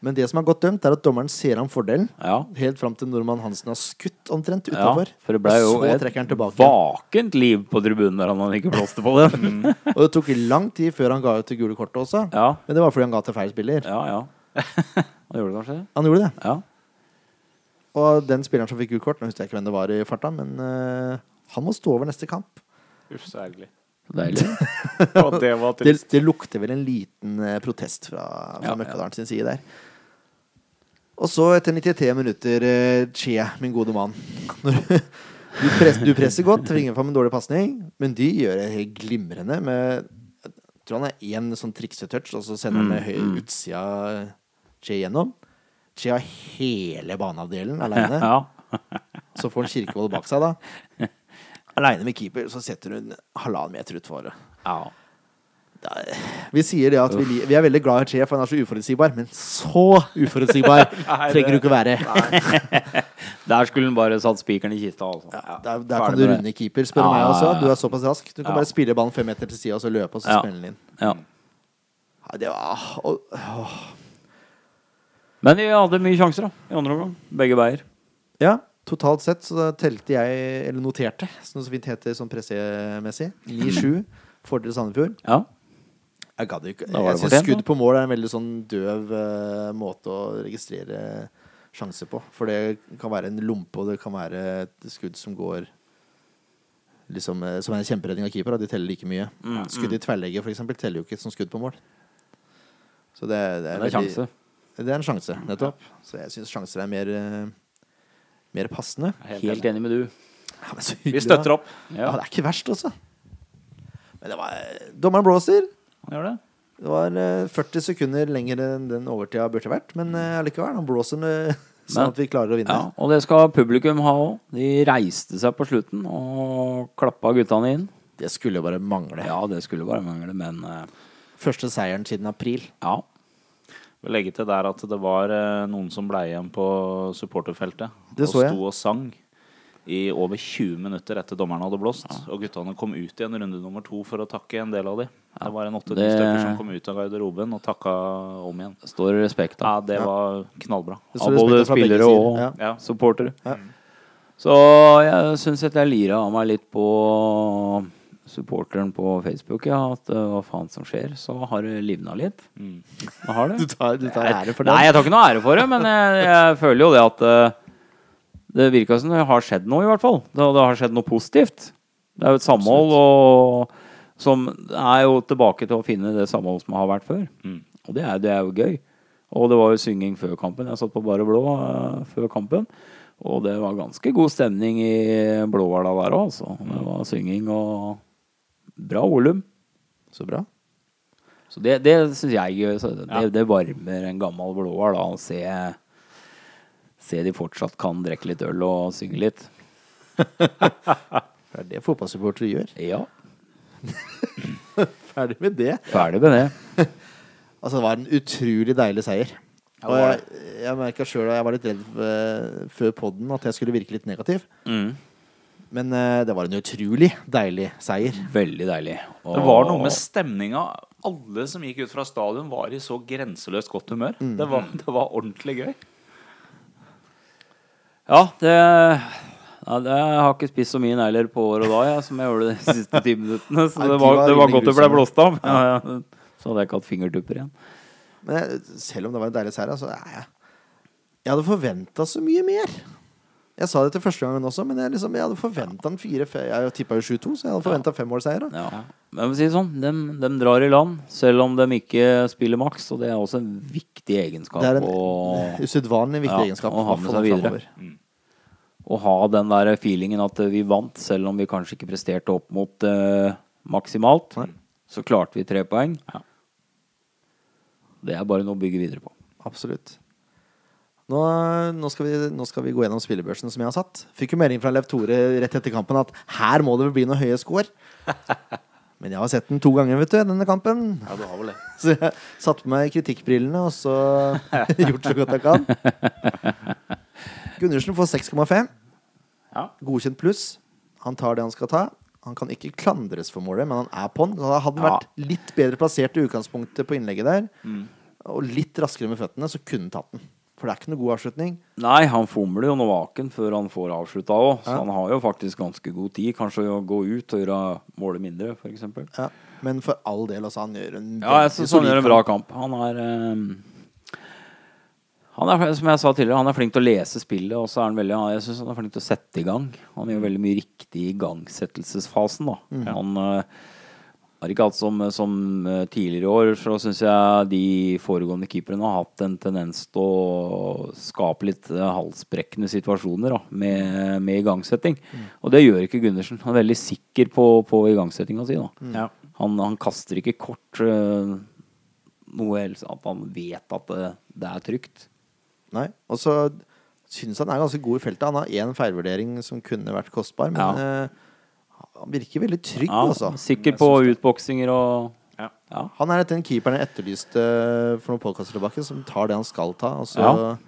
Men det som er godt dømt, er at dommeren ser ham fordelen. Ja. Helt fram til Normann Hansen har skutt omtrent Ja, utafor. for det ble jo så et trekker han tilbake. vakent liv på tribunen der han ikke blåste på den. Og det tok lang tid før han ga ut det gule kortet også. Ja. Men det var fordi han ga til feil spiller. Ja, ja. Han gjorde det kanskje? Han gjorde det. Ja. Og den spilleren som fikk gult kort, nå husker jeg ikke hvem det var i farta, men eh, han må stå over neste kamp. Uff, så ergerlig. Så deilig. Og det var Det, trist. det lukter vel en liten eh, protest fra, fra Ja, Møkkadalen sin side der. Og så, etter 93 minutter, eh, Che, min gode mann. Når Du, press, du presser godt, tvinger fram en dårlig pasning, men de gjør det helt glimrende med Jeg tror han er én sånn triksetouch, og så sender han med høy utsida eh, Che gjennom. Che har hele baneavdelen aleine. Ja. Så får han Kirkevold bak seg, da. Aleine med keeper, så setter hun halvannen meter utfor. ja. Vi sier det at vi, li- vi er veldig glad i Che, for han er så uforutsigbar. Men så uforutsigbar trenger du ikke være. Der skulle han bare satt spikeren i kista, altså. Der, der kan du Ferdig med det. runde keeper, spør Ja, meg ja, også. ja. Du er såpass rask. Du kan Ja. bare spille ballen fem meter til sida og så løpe, og så Ja. spille den inn. Ja. Ja, det var og, åh. Men vi hadde mye sjanser, da. I andre omgang. Begge veier. Ja, totalt sett så da telte jeg, eller noterte, som det så fint heter sånn pressemessig, 9-7 fordel Sandefjord. Ja. Jeg gadd ikke. Da var Jeg det syns fortjent, skudd på mål er en veldig sånn døv eh, måte å registrere sjanser på. For det kan være en lompe, og det kan være et skudd som går liksom, eh, Som er en kjemperedning av keeper, og de teller like mye. Mm, Skudd i tverrlegger, for eksempel, teller jo ikke som skudd på mål. Så det, det, er, Men det er veldig- sjanse. Det er en sjanse, nettopp. Så jeg syns sjanser er mer, eh, mer passende. Helt enig med du. Ja, men så Vi hyggelig, da. støtter opp. Ja. det er ikke verst, altså. Men det var eh, Dommeren blåser. Han gjør det. Det var eh, 40 sekunder lenger enn den overtida burde vært, men eh, allikevel. Han blåser den, eh, Men- sånn at vi klarer å vinne. Ja, og det skal publikum ha òg. De reiste seg på slutten og klappa guttene inn. Det skulle jo bare mangle. Ja, det skulle bare mangle, men eh, Første seieren siden april. ja. vil legge til der at det var eh, noen som ble igjen på supporterfeltet. Det så jeg. Og sto og sang i over 20 minutter etter dommeren hadde blåst. Og guttene kom ut igjen runde nummer to for å takke en del av de. Det var en åtte-ti det- stykker som kom ut av garderoben og takka om igjen. Det står respekt Ja, av. det var knallbra. Det Av står både respekt fra begge spillere sider. og Ja. Ja. supportere. Mm. Så jeg syns at jeg lira av meg litt på supporteren på Facebook, ja, at eh, hva faen som skjer. Så har det livna litt. Det har det. Du tar, du tar ære for Nei, den. jeg tar ikke noe ære for det, men jeg, jeg føler jo det at eh, det virka som det har skjedd noe, i hvert fall. Det, det har skjedd noe positivt. Det er jo et samhold og, som er jo tilbake til å finne det samholdet som har vært før. Og det er, det er jo gøy. Og det var jo synging før kampen. Jeg satt på Bare Blå eh, før kampen. Og det var ganske god stemning i Blåhvala der òg, altså. Det var synging og bra volum. Så bra. Så det, det syns jeg så det, det varmer en gammel blåhval da, å se, se de fortsatt kan drikke litt øl og synge litt. Det er det fotballsupportere gjør. Ja, Ferdig med det. ferdig med det. Altså, det var en utrolig deilig seier. Og jeg, jeg merka sjøl at jeg var litt redd eh, før podden at jeg skulle virke litt negativ. Mm. Men eh, det var en utrolig deilig seier. Veldig deilig. Og- Det var noe med stemninga. Alle som gikk ut fra stadion, var i så grenseløst godt humør. Mm. Det, var, det var ordentlig gøy. Ja, det ja, det, jeg har ikke spist så mye negler på år og dag jeg, som jeg gjorde de siste ti minuttene. Så Nei, det de var, var det var rimelig godt det ble grusomme. blåst av. Ja, ja. Så hadde jeg ikke hatt fingertupper igjen. Men jeg, selv om det var en deilig seier, altså, er jeg, jeg hadde forventa så mye mer. Jeg sa det til første gangen også, men jeg, liksom, jeg hadde forventa en fire fe- Jeg tippa jo 7-2, så jeg hadde forventa femårsseier. da. Ja. Men for å si det sånn, dem, dem drar i land, selv om de ikke spiller maks. Og det er også en viktig egenskap. Det er en å- usedvanlig viktig Ja, egenskap. og ha med hvertfall seg videre. fremover. Å ha den der feelingen at eh, vi vant, selv om vi kanskje ikke presterte opp mot eh, maksimalt. Så klarte vi tre poeng. Det er bare noe å bygge videre på. Absolutt. Nå, nå, skal vi, nå skal vi gå gjennom spillebørsen som jeg har satt. Fikk jo melding fra Lev Tore rett etter kampen at her må det vel bli noen høye score. Men jeg har sett den to ganger, vet du, denne kampen. Ja, du har vel det. Så jeg satte på meg kritikkbrillene og så gjort så godt jeg kan. Gundersen får 6,5. Ja. Godkjent pluss. Han tar det han skal ta. Han kan ikke Mm. klandres for målet, men han er på den. Så hadde han vært litt bedre plassert i utgangspunktet på innlegget der, og litt raskere med føttene, så kunne han tatt den. For det er ikke noe god avslutning. Nei, han fomler jo når vaken før han får avslutta òg, så han har jo faktisk ganske god tid. Kanskje å gå ut og gjøre målet mindre, f.eks. Ja. Men for all del, altså. Han gjør en Ja, jeg veldig syns han solid gjør en kamp. bra kamp. Han er eh, han er, som jeg sa tidligere, han er flink til å lese spillet, og så er han veldig Jeg syns han er flink til å sette i gang. Han gjør veldig mye riktig i igangsettelsesfasen, da. Han eh, har ikke hatt som, som eh, tidligere år, så syns jeg de foregående keeperne har hatt en tendens til å skape litt eh, halsbrekkende situasjoner da, med, med igangsetting. Og det gjør ikke Gundersen. Han er veldig sikker på, på igangsettinga si. da. Han, han kaster ikke kort øh, noe ellers, at han vet at det, det er trygt. Nei, og så syns han er ganske god i feltet. Han har én feilvurdering som kunne vært kostbar, men Ja. eh, han virker veldig trygg, Ja, altså. sikker på utboksinger og Ja. Ja. Han er den keeperen jeg etterlyste eh, for noen podkaster tilbake, som tar det han skal ta, og så Ja. Mm,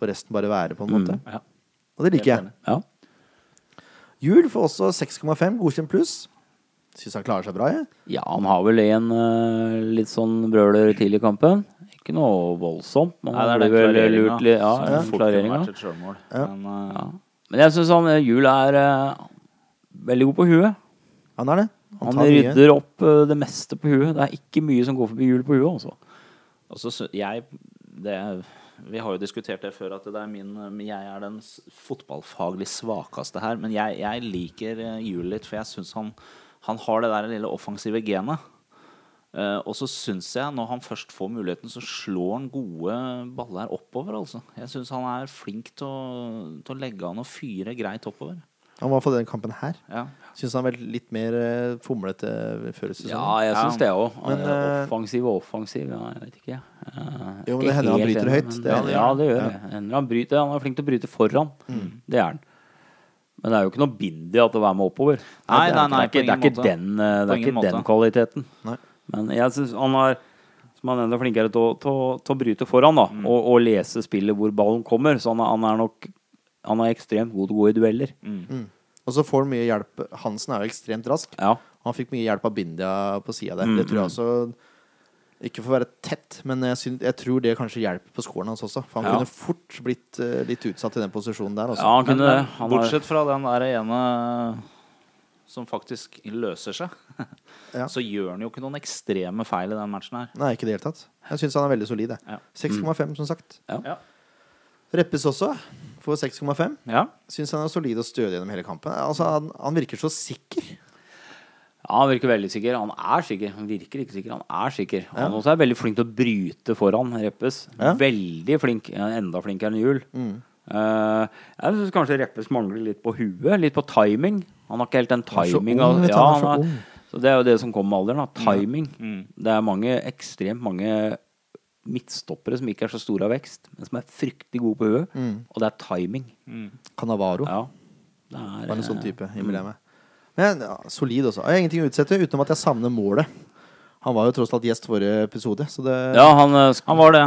får resten bare være, på en måte. ja. Og det liker jeg. ja. Jul får også 6,5, godkjent pluss. Syns han klarer seg bra, jeg. Ja, han har vel en øh, litt sånn brøler til i kampen. Ikke noe voldsomt, men Nei, det han er den blir vel klareringen, lurt litt Ja, som den fort kunne klareringa. vært et selvmål. Men, eh, Ja. Men jeg syns han øh, Juel er øh, veldig god på huet. Han er det. Han, tar mye. rydder opp øh, det meste på huet. Det er ikke mye som går forbi Juel på huet, altså. Og så sy- jeg det, er- Vi har jo diskutert det før, at det er min, jeg er den s- fotballfaglig svakeste her. Men jeg, jeg liker eh, Juel litt, for jeg syns han, han har det der lille offensive genet. Eh, og så syns jeg, når han først får muligheten, så slår han gode baller oppover. altså. Jeg syns han er flink til å, til å legge an og fyre greit oppover. Han var for den kampen her. Ja. Syns han var litt mer eh, fomlete før i sesongen. Ja, sånn? jeg syns det òg. Men, eh, Offensiv og offensiv, ja, jeg vet ikke. Eh, Jo, men ikke det hender han helt bryter enig, høyt. men Det er han ja, gjør. det gjør Ja. Mm. det. Hender han bryter. Han er flink til å bryte foran. Det er han. Men det er jo ikke noe bind i at å være med oppover. Nei, det er, nei, det er, nei, ikke, på det er ikke ingen den, eh, det På er ingen ikke den måte. kvaliteten. Nei. Men jeg syns han er som han er enda flinkere til å, til, å- til å bryte foran da, Mm. og, og lese spillet hvor ballen kommer. Så han er, han er nok han er ekstremt god til å gå i dueller. Mm. Mm. Og så får han mye hjelp. Hansen er jo ekstremt rask. Ja. Han fikk mye hjelp av Bindia på sida der. Det Mm, tror jeg også Ikke for å være tett, men jeg, syn- jeg tror det kanskje hjelper på scoren hans også. For han Ja. kunne fort blitt eh, litt utsatt i den posisjonen der. altså. ja, Også. han Men, kunne men, han har- bortsett fra den der ene som faktisk løser seg, Ja. så gjør han jo ikke noen ekstreme feil i den matchen her. Nei, ikke i det hele tatt. Jeg syns han er veldig solid. jeg. Ja. 6,5, som sagt. Ja. Reppes også for 6,5. Ja. Syns han er solid og stødig gjennom hele kampen. Altså, han, han virker så sikker. Ja, han virker veldig sikker. Han er sikker. Han virker ikke sikker, han er sikker. Han også er veldig flink til å bryte foran Reppes. Ja. Mm. Veldig flink. Ja, Enda flinkere enn Juel. Eh, jeg syns kanskje Reppes mangler litt på huet, litt på timing. Han har ikke helt den er så timinga. ung, vet du, ja, han er så han ung. Mm. er- så det er jo det som kommer med alderen, da. Timing. Det er mange, ekstremt mange midtstoppere som ikke er så store av vekst, men som er fryktelig gode på huet. Mm. Og det er timing. Canavaro Ja. Det er, var en sånn eh, type. innbiller jeg meg. Men ja, solid også. Jeg har ingenting å utsette utenom at jeg savner målet. Han var jo tross alt gjest forrige episode, så det, Ja, han, eh, sk- Han var det.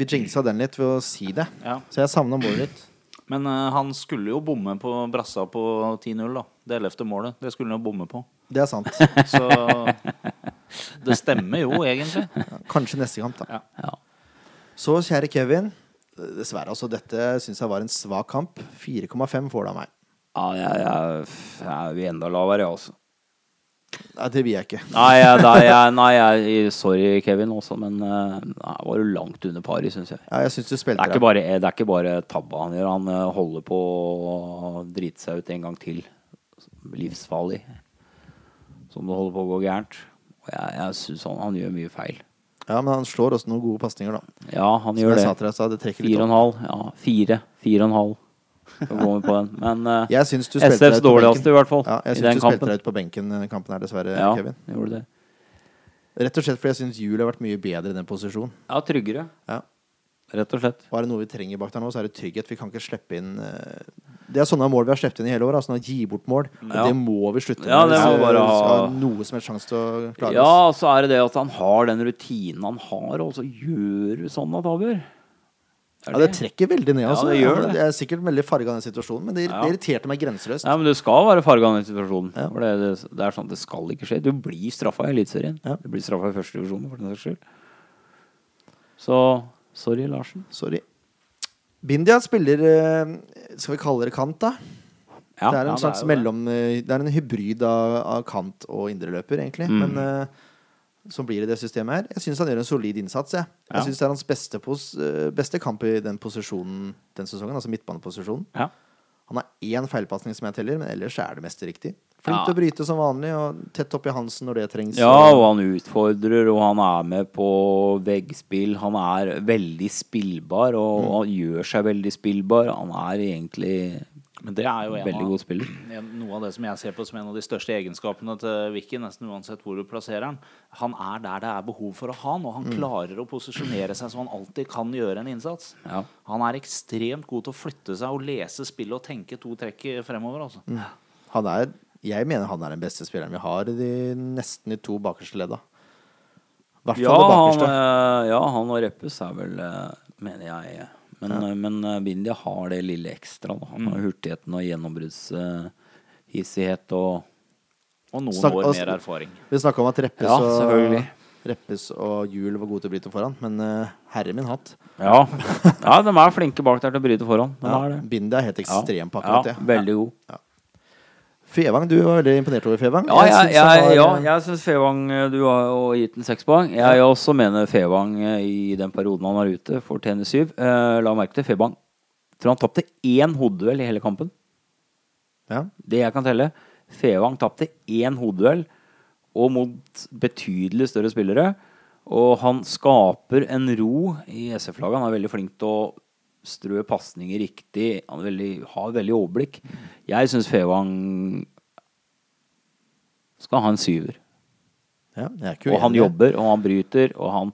vi jinxa den litt ved å si det. Ja. Så jeg savna målet litt. Men eh, han skulle jo bomme på brassa på 10-0, da. Det ellevte målet. Det skulle han jo bomme på. Det er sant. Så det stemmer jo, egentlig. Kanskje neste kamp, da. ja. Så kjære Kevin. Dessverre, altså. Dette syns jeg var en svak kamp. 4,5 får det av meg. Ja, jeg, jeg, jeg vil enda lavere, jeg også. Nei, det vil jeg ikke. Nei, jeg, nei, jeg, nei jeg, sorry, Kevin, også, men eh, nei, var du langt under pari, syns jeg. Ja, jeg syns du Det spilte er ikke bare, eh, det er ikke bare tabba han gjør. Han eh, holder på å drite seg ut en gang til. Livsfarlig. Som det holder på å gå gærent. Og jeg, jeg syns han, han gjør mye feil. Ja, men han slår også noen gode pasninger, da. Ja, han Som gjør jeg det. sa til deg, så det trekker litt Fire og en halv. Ja, fire. Fire og en halv. Skal gå med på den. Men eh, Jeg syns du spilte deg ut SFs på benken. dårligste, i hvert fall. Ja, jeg I syns den du spilte kampen. deg ut på benken i den kampen her, dessverre, Ja, Kevin. gjorde det. Rett og slett fordi jeg syns Juel har vært mye bedre i den posisjonen. Ja, tryggere. Ja. Rett og slett. Og er det noe vi trenger bak der nå, så er det trygghet. Vi kan ikke slippe inn eh, Det er sånne mål vi har sluppet inn i hele år. da, Sånne gi bort mål. Og Ja. det må vi slutte med. Ja, det hvis må vi bare ha- skal ha noe som helst sjanse til å klare oss. Ja, så er det det at han har den rutinen han har, og så gjør du sånne tabber. Er Ja, det trekker veldig ned. Altså. det gjør det. Jeg er sikkert veldig farga av den situasjonen, men det, Ja. det irriterte meg grenseløst. Nei, men du skal være farga av den situasjonen. Ja. For det, det, det er sånn, det skal ikke skje. Du blir straffa i Eliteserien. Ja. Du blir straffa i første divisjon, for den saks skyld. Så sorry, Larsen. Sorry. Bindia spiller eh, Skal vi kalle det kant, da? Ja, det er en ja, slags jo det. mellom eh, Det er en hybrid av, av kant og indreløper, egentlig. Mm. Men eh, som blir i det systemet her. Jeg syns han gjør en solid innsats. Jeg, jeg synes det er hans beste, pos, eh, beste kamp i den posisjonen den sesongen, altså midtbaneposisjonen. Ja. Han har én feilpasning som jeg teller, men ellers er det meste riktig. Flink Ja. til å bryte som vanlig, og tett opp i Hansen når det trengs. Ja, og og- han utfordrer, og han er med på veggspill. Han er veldig spillbar, og han gjør seg veldig spillbar. Han er egentlig Men det er jo en veldig av, god spiller. en- Noe av det som jeg ser på som en av de største egenskapene til Vicky, nesten uansett hvor du plasserer han. Han er der det er behov for å ha han, og han klarer å posisjonere seg så han alltid kan gjøre en innsats. Ja. Han er ekstremt god til å flytte seg og lese spillet og tenke to trekk fremover, altså. Han er, jeg mener han er den beste spilleren vi har i de, nesten de to bakerste ledda. I hvert Ja fall det han, bakerste. eh, ja, han og Reppes er vel, eh, mener jeg. Men, eh, men eh, Bindia har det lille ekstra. Da. Han Mm. har hurtigheten og gjennombruddshissighet og Og noen Snakk- år altså- mer erfaring. Vi snakka om at Reppes, Ja, selvfølgelig. og, Reppes og Hjul var gode til å bryte foran, men eh, herre min hatt. Ja. ja, de er flinke bak der til å bryte foran. De Ja, er det. Bindi er helt Ja. ekstrem på ja, akkurat det. Veldig god. Fevang, du var veldig imponert over Fevang. Ja, jeg, synes han jeg, var- ja, jeg syns Fevang eh, Du har jo gitt den seks poeng. Jeg jeg også mener Fevang eh, i den perioden han var ute, fortjener syv. Eh, La merke til Fevang. Tror han tapte én hodeduell i hele kampen. ja. Det jeg kan telle. Fevang tapte én hodeduell, og mot betydelig større spillere. Og han skaper en ro i SF-laget. Han er veldig flink til å strø pasninger riktig. Han er veldig, har veldig overblikk. Jeg syns Fevang skal ha en syver. Ja, jeg er ikke Og uenig han i det. jobber, og han bryter, og han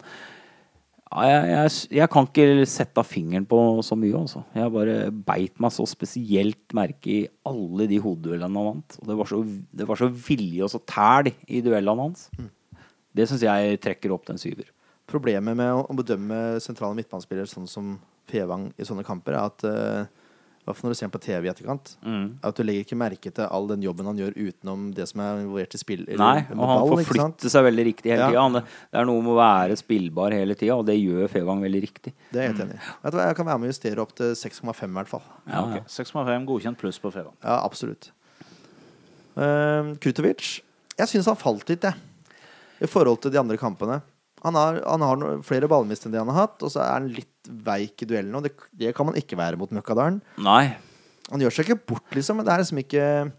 ja, jeg, jeg, jeg kan ikke sette av fingeren på så mye, altså. Jeg bare beit meg så spesielt merke i alle de hodeduellene han vant. Og det var så, det var så vilje og så tæl i duellene hans. Mm. Det syns jeg trekker opp den syver. Problemet med å å bedømme sentrale midtbanespillere sånn som Fevang i sånne kamper, er at eh, i hvert fall når du ser ham på TV i etterkant, Mm. er at du legger ikke merke til all den jobben han gjør utenom det som er involvert i spill. eller Nei, med og han ball, ikke sant? forflytter seg veldig riktig hele Ja. tida. Han- Det er noe med å være spillbar hele tida, og det gjør Fevang veldig riktig. Det er jeg helt enig i. Vet du hva, Jeg kan være med å justere opp til 6,5 i hvert fall. Ja, Ok, 6,5 godkjent pluss på Fevang. Ja, absolutt. Uh, Krutovic Jeg syns han falt litt, jeg. I forhold til de andre kampene. Han har, han har no flere ballmist enn det han har hatt, og så er han litt veik i duellene. Og det, det kan man ikke være mot Møkkadalen. Nei. Han gjør seg ikke bort, liksom. Men det er liksom ikke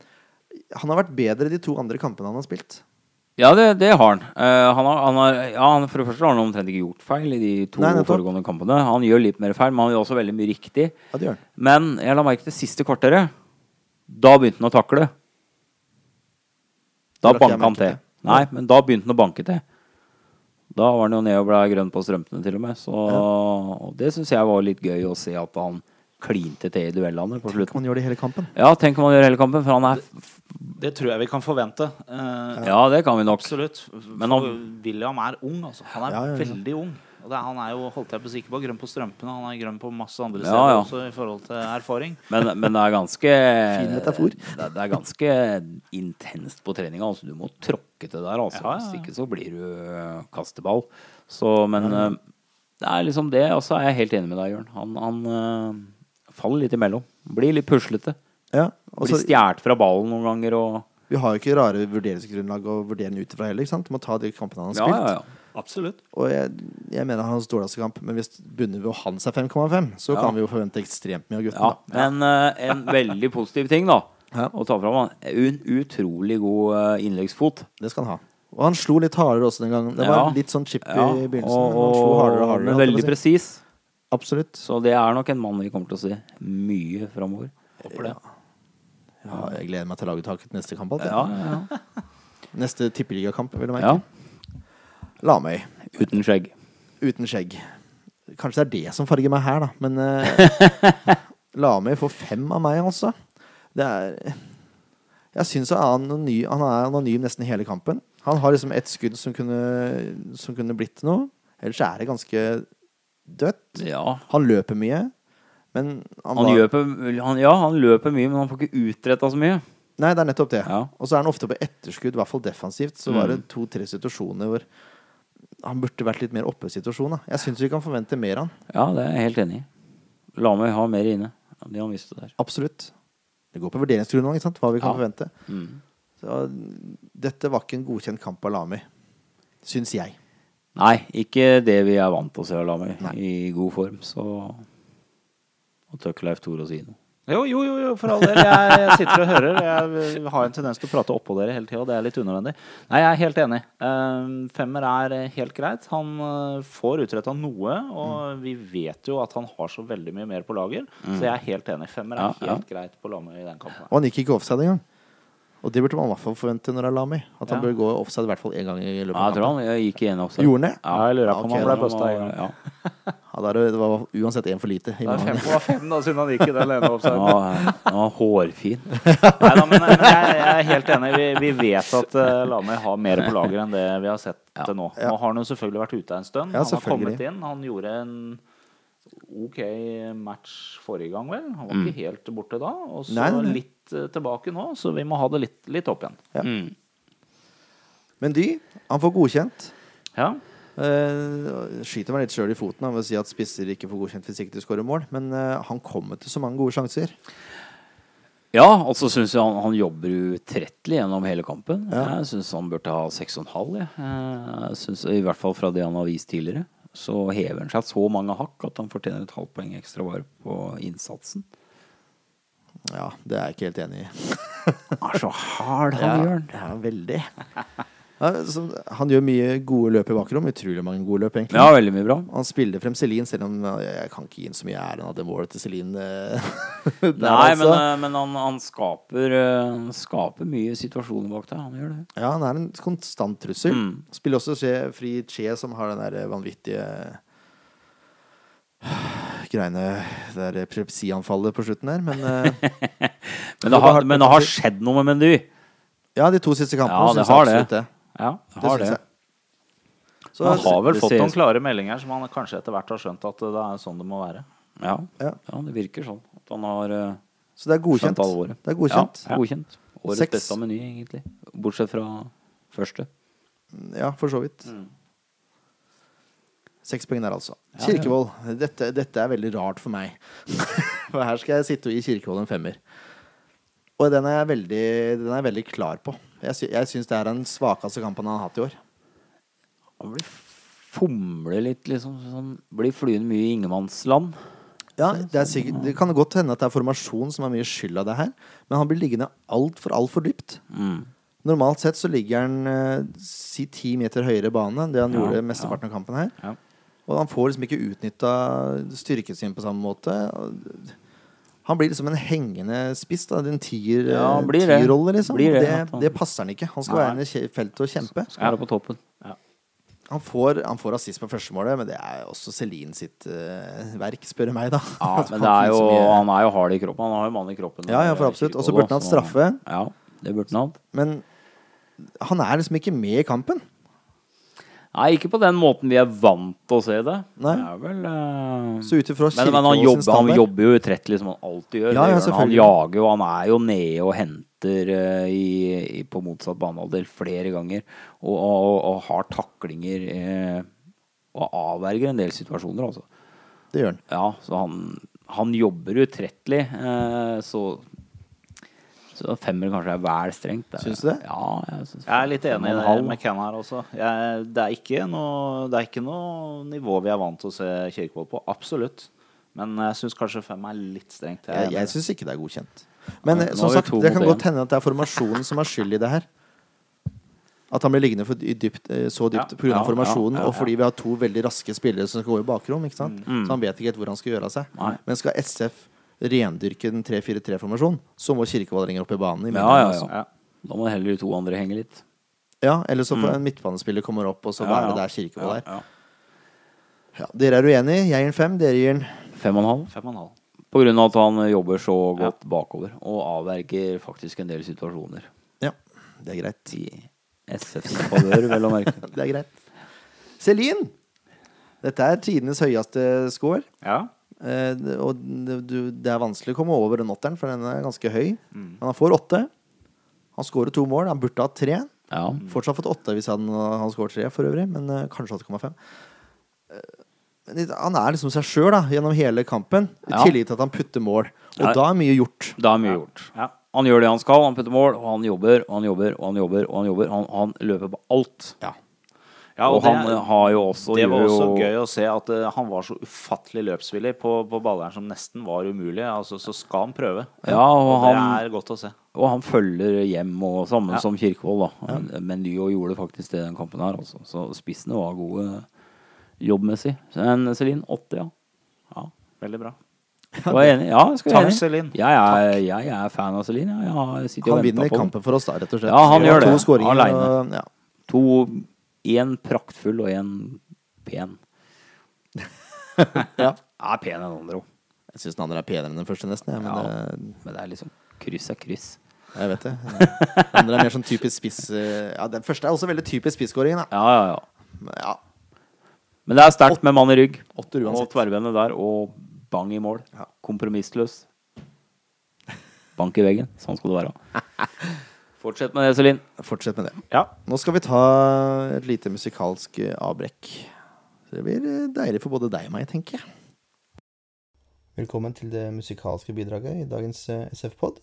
Han har vært bedre de to andre kampene han har spilt. Ja, det, det har han. Eh, han, har, han har, ja, han. For det første har han omtrent ikke gjort feil i de to Nei, nettopp. foregående kampene. Han gjør litt mer feil, men han gjør også veldig mye riktig. Ja, det gjør han. Men jeg la merke til siste kvarteret. Da begynte han å takle. Da Det la ikke jeg banka han merke til. til. Nei, men da begynte han å banke til. Da var han jo ned og ble grønn på strømpene, til og med. Så og det syns jeg var litt gøy å se at han klinte til i duellene på slutten. Han gjør det i hele kampen. Ja, tenk om han gjør hele kampen, for han er Det tror jeg vi kan forvente. eh, Ja, det kan vi nok. Absolutt. Men Men han- William er ung, altså. Han er Ja, ja, ja. veldig ung. Og det, er- han er jo holdt jeg på å si ikke bare grønn på strømpene, han er grønn på masse andre Ja, steder ja. også i forhold til erfaring. Men, men det er ganske Fin metafor. Det, det er ganske intenst på treninga. Altså, du må tråkke til der, altså. Ja, ja, ja. Hvis ikke så blir du øh, kasteball. Så, men øh, det er liksom det. Og så er jeg helt enig med deg, Jørn. Han, han øh, faller litt imellom. Blir litt puslete. Ja, og Blir så- stjålet fra ballen noen ganger og vi har jo ikke rare vurderingsgrunnlag å vurdere den ut ifra heller. ikke sant? Du må ta de kampene han har Ja, spilt. ja, ja. Absolutt. Og jeg, jeg mener han har hans dårligste kamp, men hvis bunner ved han seg 5,5, så Ja. kan vi jo forvente ekstremt mye av gutten. ja. da. Men øh, en veldig positiv ting, da. Ja. Å ta fram han. En utrolig god øh, innleggsfot. Det skal han ha. Og han slo litt hardere også den gangen. Det var Ja. litt sånn chip Ja, i begynnelsen, og, men han slo hardere og og- hardere. men holdt jeg veldig på å si. presis. Absolutt. Så det er nok en mann vi kommer til å se mye framover. Håper det. Ja, jeg gleder meg til laguttaket neste kamp. alt, jeg. Ja, ja, ja. Neste tippeligakamp, vil du merke. ja. Lamøy. Uten skjegg. Uten skjegg. Kanskje det er det som farger meg her, da. Men eh, Lamøy får fem av meg, altså. Det er Jeg syns han er anonym, han er anonym nesten hele kampen. Han har liksom ett skudd som kunne, som kunne blitt noe. Ellers er det ganske dødt. Ja. Han løper mye, men han, Han, var- løper, han, ja, han løper mye, men han får ikke utretta så mye. Nei, det er nettopp det. Ja. Og så er han ofte på etterskudd, i hvert fall defensivt. Så var det to-tre situasjoner hvor han burde vært litt mer oppe i situasjonen. da. Jeg syns vi kan forvente mer av han. Ja, det er jeg helt enig i. La meg ha mer inne. Ja, Det han visste der. Absolutt. Det går på vurderingsgrunnlag, ikke sant? hva vi kan Ja. Mm. forvente. Så, dette var ikke en godkjent kamp av Lami, syns jeg. Nei, ikke det vi er vant til å se av Lamøy Nei. i god form, så Og tør ikke Leif Tore å si noe. Jo, jo, jo, jo, for all del. Jeg, jeg sitter og hører. Jeg har en tendens til å prate oppå dere hele tida, og det er litt unødvendig. Nei, jeg er helt enig. Ehm, femmer er eh, helt greit. Han eh, får utretta noe, Mm. og vi vet jo at han har så veldig mye mer på lager, så jeg er helt enig. Femmer Mm. Ja, er ja. helt greit på Lamøy i den kampen. her. Og han gikk ikke offside engang. Og det burde man i hvert fall forvente når det er Lami. At han Ja. bør gå offside i hvert fall én gang i løpet Ja, av jeg tror kampen. han jeg gikk igjen også. Gjorde han det? Ja, jeg lurer på om han han ble postet en postet en gang. Ja. Ja, da er det, det var uansett én for lite. I Det er morgen. 5,5 da, siden han gikk i den ene Han offsiden. var, han var hårfin. Nei da, men, men jeg, jeg er helt enig. Vi, vi vet at eh, Lamøy har mer på lager enn det vi har sett til nå. Nå har han jo selvfølgelig vært ute en stund. Ja, han har selvfølgelig. kommet inn. Han gjorde en OK match forrige gang, vel. Han var ikke helt borte da. Og så Mm. Nei, nei, nei. litt eh, tilbake nå, så vi må ha det litt, litt opp igjen. Mm. Men Dy, han får godkjent. Ja. Eh, skyter meg litt sjøl i foten da, ved å si at spisser ikke får godkjent hvis ikke de skårer mål. Men eh, han kommer til så mange gode sjanser. Ja, og så syns jeg han, han jobber utrettelig gjennom hele kampen. Jeg syns han burde ha 6,5. Jeg. jeg synes, I hvert fall fra det han har vist tidligere. Så hever han seg så mange hakk at han fortjener et halvt poeng ekstra bare på innsatsen. Ja, det er jeg ikke helt enig i. Han er så hard, han gjør han. Ja, veldig. Ja, så, han gjør mye gode løp i bakrom. Utrolig mange gode løp, egentlig. Ja, veldig mye bra. Han spiller frem Celine, selv om eh, jeg kan ikke gi ham så mye æren av det målet til Celine. eh, der, Nei, men, altså. eh, men han, han skaper, eh, han skaper mye situasjoner bak der. Han gjør det. Ja, han er en konstant trussel. Mm. Spiller også Che- fri Che, som har den der vanvittige greiene Det der epilepsianfallet på slutten der. Men eh, Men det har, men det har skjedd noe med Mendy. ja, de to siste kampene Ja, det synes har jeg det. absolutt det. Ja, Det har synes det. jeg. Så, Han har vel det fått ser- noen klare meldinger som han kanskje etter hvert har skjønt at det er sånn det må være. Ja. Ja. ja, det virker sånn. At han har eh, så det er godkjent. skjønt alvoret. Det er godkjent. Ja, godkjent. Årets Seks. beste av meny, egentlig. Bortsett fra første. Ja, for så vidt. Seks poeng der, altså. Kirkevold. Dette, dette er veldig rart for meg. for her skal jeg sitte og gi Kirkevold en femmer. Og den er jeg veldig, den er jeg veldig klar på. Jeg, sy jeg syns det er den svakeste kampen han har hatt i år. Han blir fomle litt, liksom. Sånn, blir flyende mye i ingenmannsland. Ja, det, er sikkert, det kan godt hende at det er formasjon som er mye skyld av det her, men han blir liggende altfor, altfor dypt. Mm. Normalt sett så ligger han eh, si ti meter høyere i banen enn det han gjorde mesteparten av kampen her. Ja. Og han får liksom ikke utnytta styrken sin på samme måte. Og Han blir liksom en hengende spiss, da. En tier- Ja, han blir det. tierrolle, liksom. Blir det, det, det, at han- passer han ikke. Han skal være inne i kje- feltet og kjempe. Skal være på toppen. Han får, han får assist på førstemålet, men det er også Celine sitt eh, verk, spør du meg, da. Ja, At men han det er finner jo, så mye- han er jo hard i kroppen. Han har jo mann i kroppen. Ja, ja, for eh, absolutt. Og så Kirkevold, burde han da, hatt så- straffe. Ja, det burde han hatt. Men han er liksom ikke med i kampen. Nei, ikke på den måten vi er vant til å se det. Nei. Det er vel eh, Så ut ifra Men, men han, Kirkevold sin jobber, han standard- jobber jo utrettelig som han alltid Ja, gjør. Det ja, gjør han. han selvfølgelig. jager jo, han er jo nede og henter eh, i, i, på motsatt banehalvdel flere ganger. Og, og, og, og har taklinger eh, og avverger en del situasjoner, altså. Det gjør han. Ja, så han, han jobber utrettelig, eh, så så femmer kanskje er vel strengt. Det er- Syns du det? Ja, jeg, synes Jeg er litt fem enig og i en det halv. med Ken her også. Jeg, det, er ikke noe, det er ikke noe nivå vi er vant til å se Kirkevold på. Absolutt. Men jeg syns kanskje fem er litt strengt. Jeg, jeg syns ikke det er godkjent. Men nå som har vi sagt, to det mot kan en. godt hende at det er formasjonen som er skyld i det her. At han blir liggende for i dypt, eh, så dypt pga. ja, av formasjonen, ja, ja, og fordi vi har to veldig raske spillere som skal gå i bakrom. Ikke sant? Så han vet ikke helt hvor han skal gjøre av seg. Nei. Men skal SF rendyrke den 3-4-3-formasjonen, så må Kirkevold lenger opp i banen. I Ja, midten ja, også. ja. Da må heller de to andre henge litt. Ja, eller så får en midtbanespiller kommer opp, og så hva er det der Kirkevold er. Mm. Ja, ja. Ja, dere er uenige. Jeg gir den fem, dere gir den Fem og en halv. Fem og en halv. På grunn av at han jobber så godt bakover og avverger faktisk en del situasjoner. Ja, det er greit. I SFs favør, vel å merke. Det er greit. Celine! Dette er tidenes høyeste score. Ja. Eh, det- og det- du- det er vanskelig å komme over den åtteren, for den er ganske høy. Men han får åtte. Han scorer to mål. Han burde hatt tre. Ja. Mm. Fortsatt fått åtte hvis han, han scorer tre, for øvrig, men eh, kanskje 8,5. Eh, men litt- han er liksom seg sjøl gjennom hele kampen, i Ja. tillegg til at han putter mål. Og Ja. da er mye gjort. Da er mye gjort. Han gjør det han skal. Han putter mål, og han jobber, og han jobber, og han jobber. Og han jobber Han, han løper på alt. Ja, og og det- han eh, har jo også det var gjør også jo- gøy å se at eh, han var så ufattelig løpsvillig på, på baller som nesten var umulig. Altså, så skal han prøve. Ja, og, Og han, det er godt å se. og han følger hjem, og samme Ja. som Kirkevold, da. Men Nyo gjorde faktisk det i den kampen her, altså. Så spissene var gode jobbmessig. Men Celine, 80, ja. ja. Veldig bra. Du var enig? Ja, jeg skal være Takk, enig. Celine. Jeg er, jeg er fan av Celine. ja. Jeg sitter og Han venter vinner på den. kampen for oss, da, rett og slett. Ja, han Og gjør det. To skåringer. Alene. og- Ja. To Én praktfull og én pen. Ja. Er pen enn andre òg. Jeg syns den andre er penere enn den første, nesten. Jeg, men eh, Ja. det- Men det er liksom kryss er kryss. jeg vet det. Den andre er mer sånn typisk spiss... eh, Ja, den første er også veldig typisk spisskåringen, da. Ja, ja, ja. Men Ja, Men det er sterkt med mann i rygg. åtter Og uansett. tverrbende der, og bang i mål. Ja. Kompromissløs. Bank i veggen. Sånn skal det være. Fortsett med det, Celine. Fortsett med det. Ja. Nå skal vi ta et lite musikalsk eh, avbrekk. Så det blir eh, deilig for både deg og meg, tenker jeg. Velkommen til det musikalske bidraget i dagens SF-pod.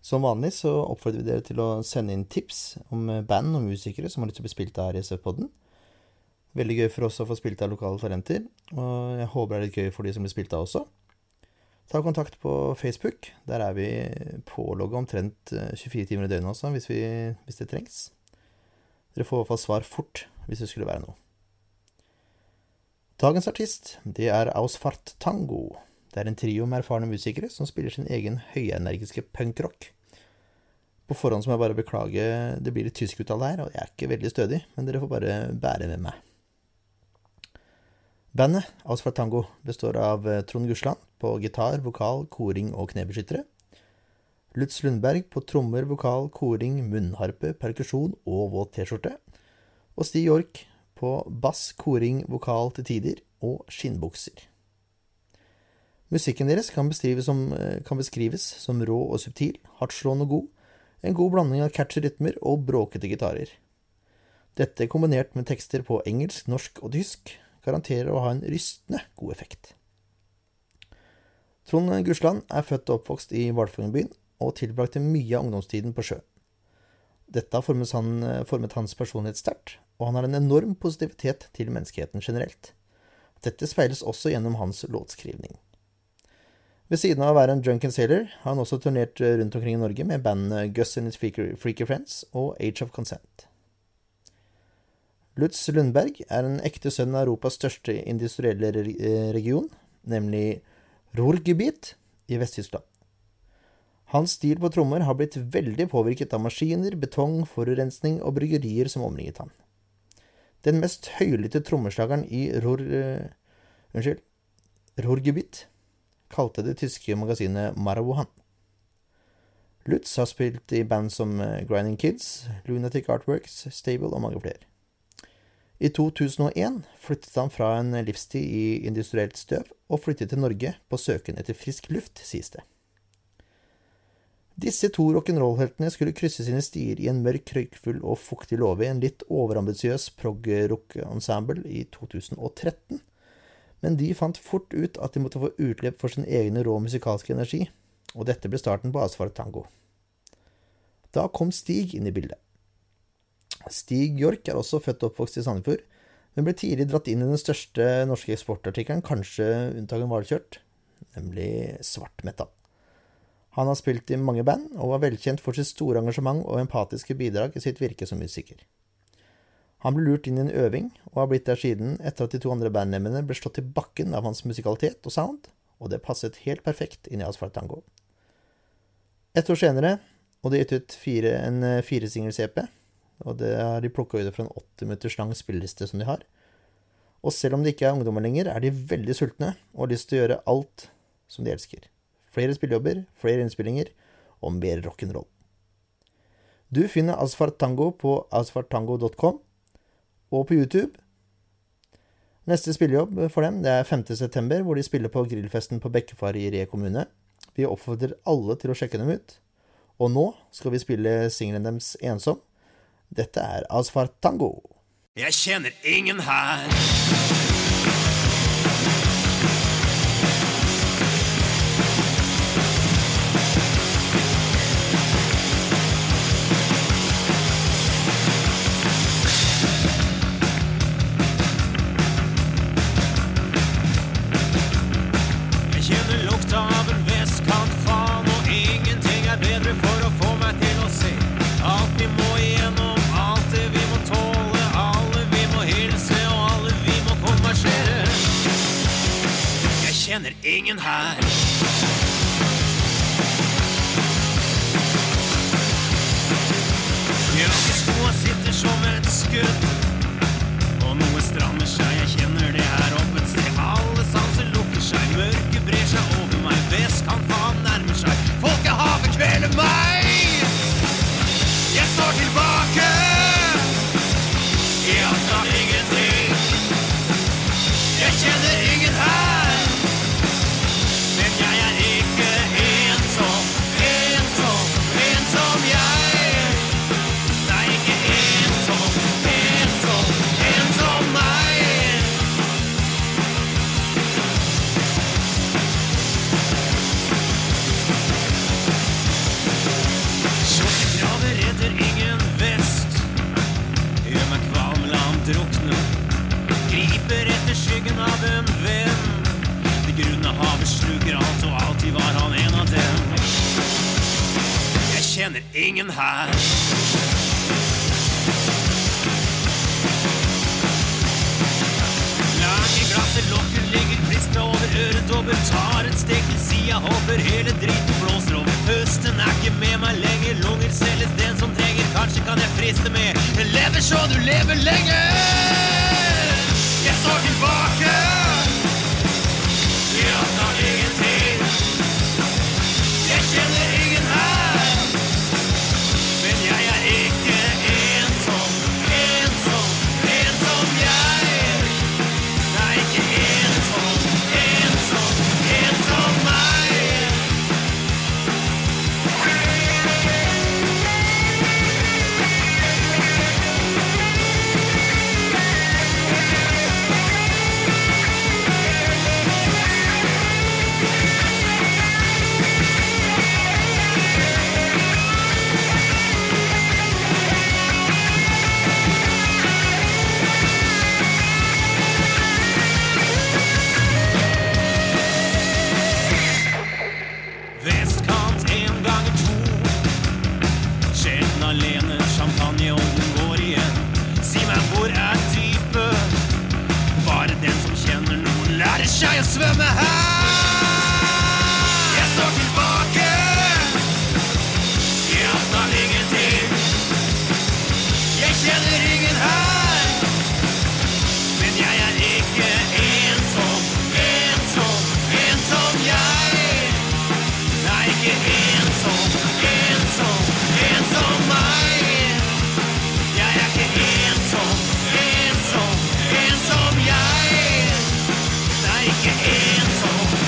Som vanlig så oppfordrer vi dere til å sende inn tips om eh, band og musikere som har lyst til å bli spilt av her i SF-podden. Veldig gøy for oss å få spilt av lokale talenter, og jeg håper det er litt gøy for de som blir spilt av også. Ta kontakt på Facebook. Der er vi pålogga omtrent eh, 24 timer i døgnet også, hvis, vi, hvis det trengs. Dere får i hvert fall svar fort hvis det skulle være noe. Dagens artist det er Ausfart Tango. Det er en trio med erfarne musikere som spiller sin egen høyenergiske punkrock. På forhånd må jeg bare beklage, det blir litt tysk uttale her, og jeg er ikke veldig stødig, men dere får bare bære med meg. Bandet Ausfart Tango består av eh, Trond Gusland på gitar, vokal, koring og knebeskyttere. Lutz Lundberg på trommer, vokal, koring, munnharpe, perkusjon og våt T-skjorte. Og Stig York på bass, koring, vokal til tider og skinnbukser. Musikken deres kan beskrives som, eh, kan beskrives som rå og subtil, hardtslående og god, en god blanding av catchy rytmer og bråkete gitarer. Dette kombinert med tekster på engelsk, norsk og tysk garanterer å ha en rystende god effekt. Trond Gusland er født og oppvokst i Hvalfangerbyen, og tilbrakte mye av ungdomstiden på sjø. Dette har formet, han, formet hans personlighet sterkt, og han har en enorm positivitet til menneskeheten generelt. Dette speiles også gjennom hans låtskrivning. Ved siden av å være en drunken sailor har han også turnert rundt omkring i Norge med bandene Gus and His Freaky, Freaky Friends og Age of Consent. Lutz Lundberg er en ekte sønn av Europas største industrielle re- eh, region, nemlig Ruhrgebiet i Vest-Tyskland. Hans stil på trommer har blitt veldig påvirket av maskiner, betong, forurensning og bryggerier som omringet ham. Den mest høylytte trommeslageren i Ruhr... eh, unnskyld, Ruhrgebiet kalte det tyske magasinet Marohan. Lutz har spilt i band som eh, Grinding Kids, Lunatic Artworks, Stable og mange flere. I 2001 flyttet han fra en livstid i industrielt støv og flyttet til Norge på søken etter frisk luft, sies det. Disse to rock'n'roll-heltene skulle krysse sine stier i en mørk, røykfull og fuktig låve i en litt overambisiøs prog-rock-ensemble i 2013, men de fant fort ut at de måtte få utløp for sin egne rå musikalske energi, og dette ble starten på Asfalt Tango. Da kom Stig inn i bildet. Stig York er også født og oppvokst i Sandefjord, men ble tidlig dratt inn i den største norske eksportartikkelen, kanskje unntagen hvalkjørt, nemlig svart metal. Han har spilt i mange band, og var velkjent for sitt store engasjement og empatiske bidrag i sitt virke som musiker. Han ble lurt inn i en øving, og har blitt der siden etter at de to andre bandmedlemmene ble slått i bakken av hans musikalitet og sound, og det passet helt perfekt inn i Asfalt Tango. Ett år senere, og de yttet fire, en eh, firesingels-EP, og det har de plukka ut fra en åtte minutters lang spilleliste som de har. Og selv om de ikke er ungdommer lenger, er de veldig sultne og har lyst til å gjøre alt som de elsker. Flere spillejobber, flere innspillinger og mer rock'n'roll. Du finner Asfalt Tango på asfartango.com og på YouTube. Neste spillejobb for dem det er 5.9, hvor de spiller på grillfesten på Bekkefar i Re kommune. Vi oppfordrer alle til å sjekke dem ut. Og nå skal vi spille singelen deres Ensom. Dette er Asfalt Tango. Jeg kjenner ingen her. Jeg kjenner lukta av en vestkant, faen, og ingenting er bedre for å få meg til å se. Alt vi må igjennom, alt det vi må tåle, alle vi må hilse, og alle vi må konversere. Jeg kjenner ingen her. Jakkeskoa sitter som et skudd. Og noe strammer seg, jeg kjenner det her oppe et sted. Alle sanser lukker seg, mørket brer seg over meg. Vestkant, faen, nærmer seg. Folkehavet kveler meg. Jeg står tilbake. Jeg antar ingenting. Jeg kjenner ingen her. Men jeg er ikke ensom, ensom, ensom jeg. Det er ikke ensom, ensom, ensom meg. Tjukke graver redder ingen vest. Gjør meg kvalm, la ham drukne. Griper etter skyggen av en venn. Det grunne havet sluker alt, og alltid var han en av dem. Jeg kjenner ingen her. Lange, glatte lokker ligger klistra over øredobber. Tar et steg til sida, hopper hele driten blåser over. Pusten er ikke med meg lenger. Lunger selges den som trenger. Kanskje kan jeg friste med en lever så du lever lenge. Jeg står tilbake. Jeg antar ingenting. Jeg kjenner ingen her. Men jeg er ikke ensom, ensom, ensom jeg. Det er ikke ensom, ensom, ensom meg. Vestkant en ganger to. Sjelden alene, champagneovnen går igjen. Si meg, hvor er dypet? Bare den som kjenner noen, lærer seg å svømme her. Jeg står tilbake. Jeg antar ingenting. Jeg kjenner ingen her. Men jeg er ikke ensom, ensom, ensom jeg. Det er ikke ensom, ensom, ensom meg. Jeg er ikke ensom, ensom, ensom jeg. Det er ikke ensom,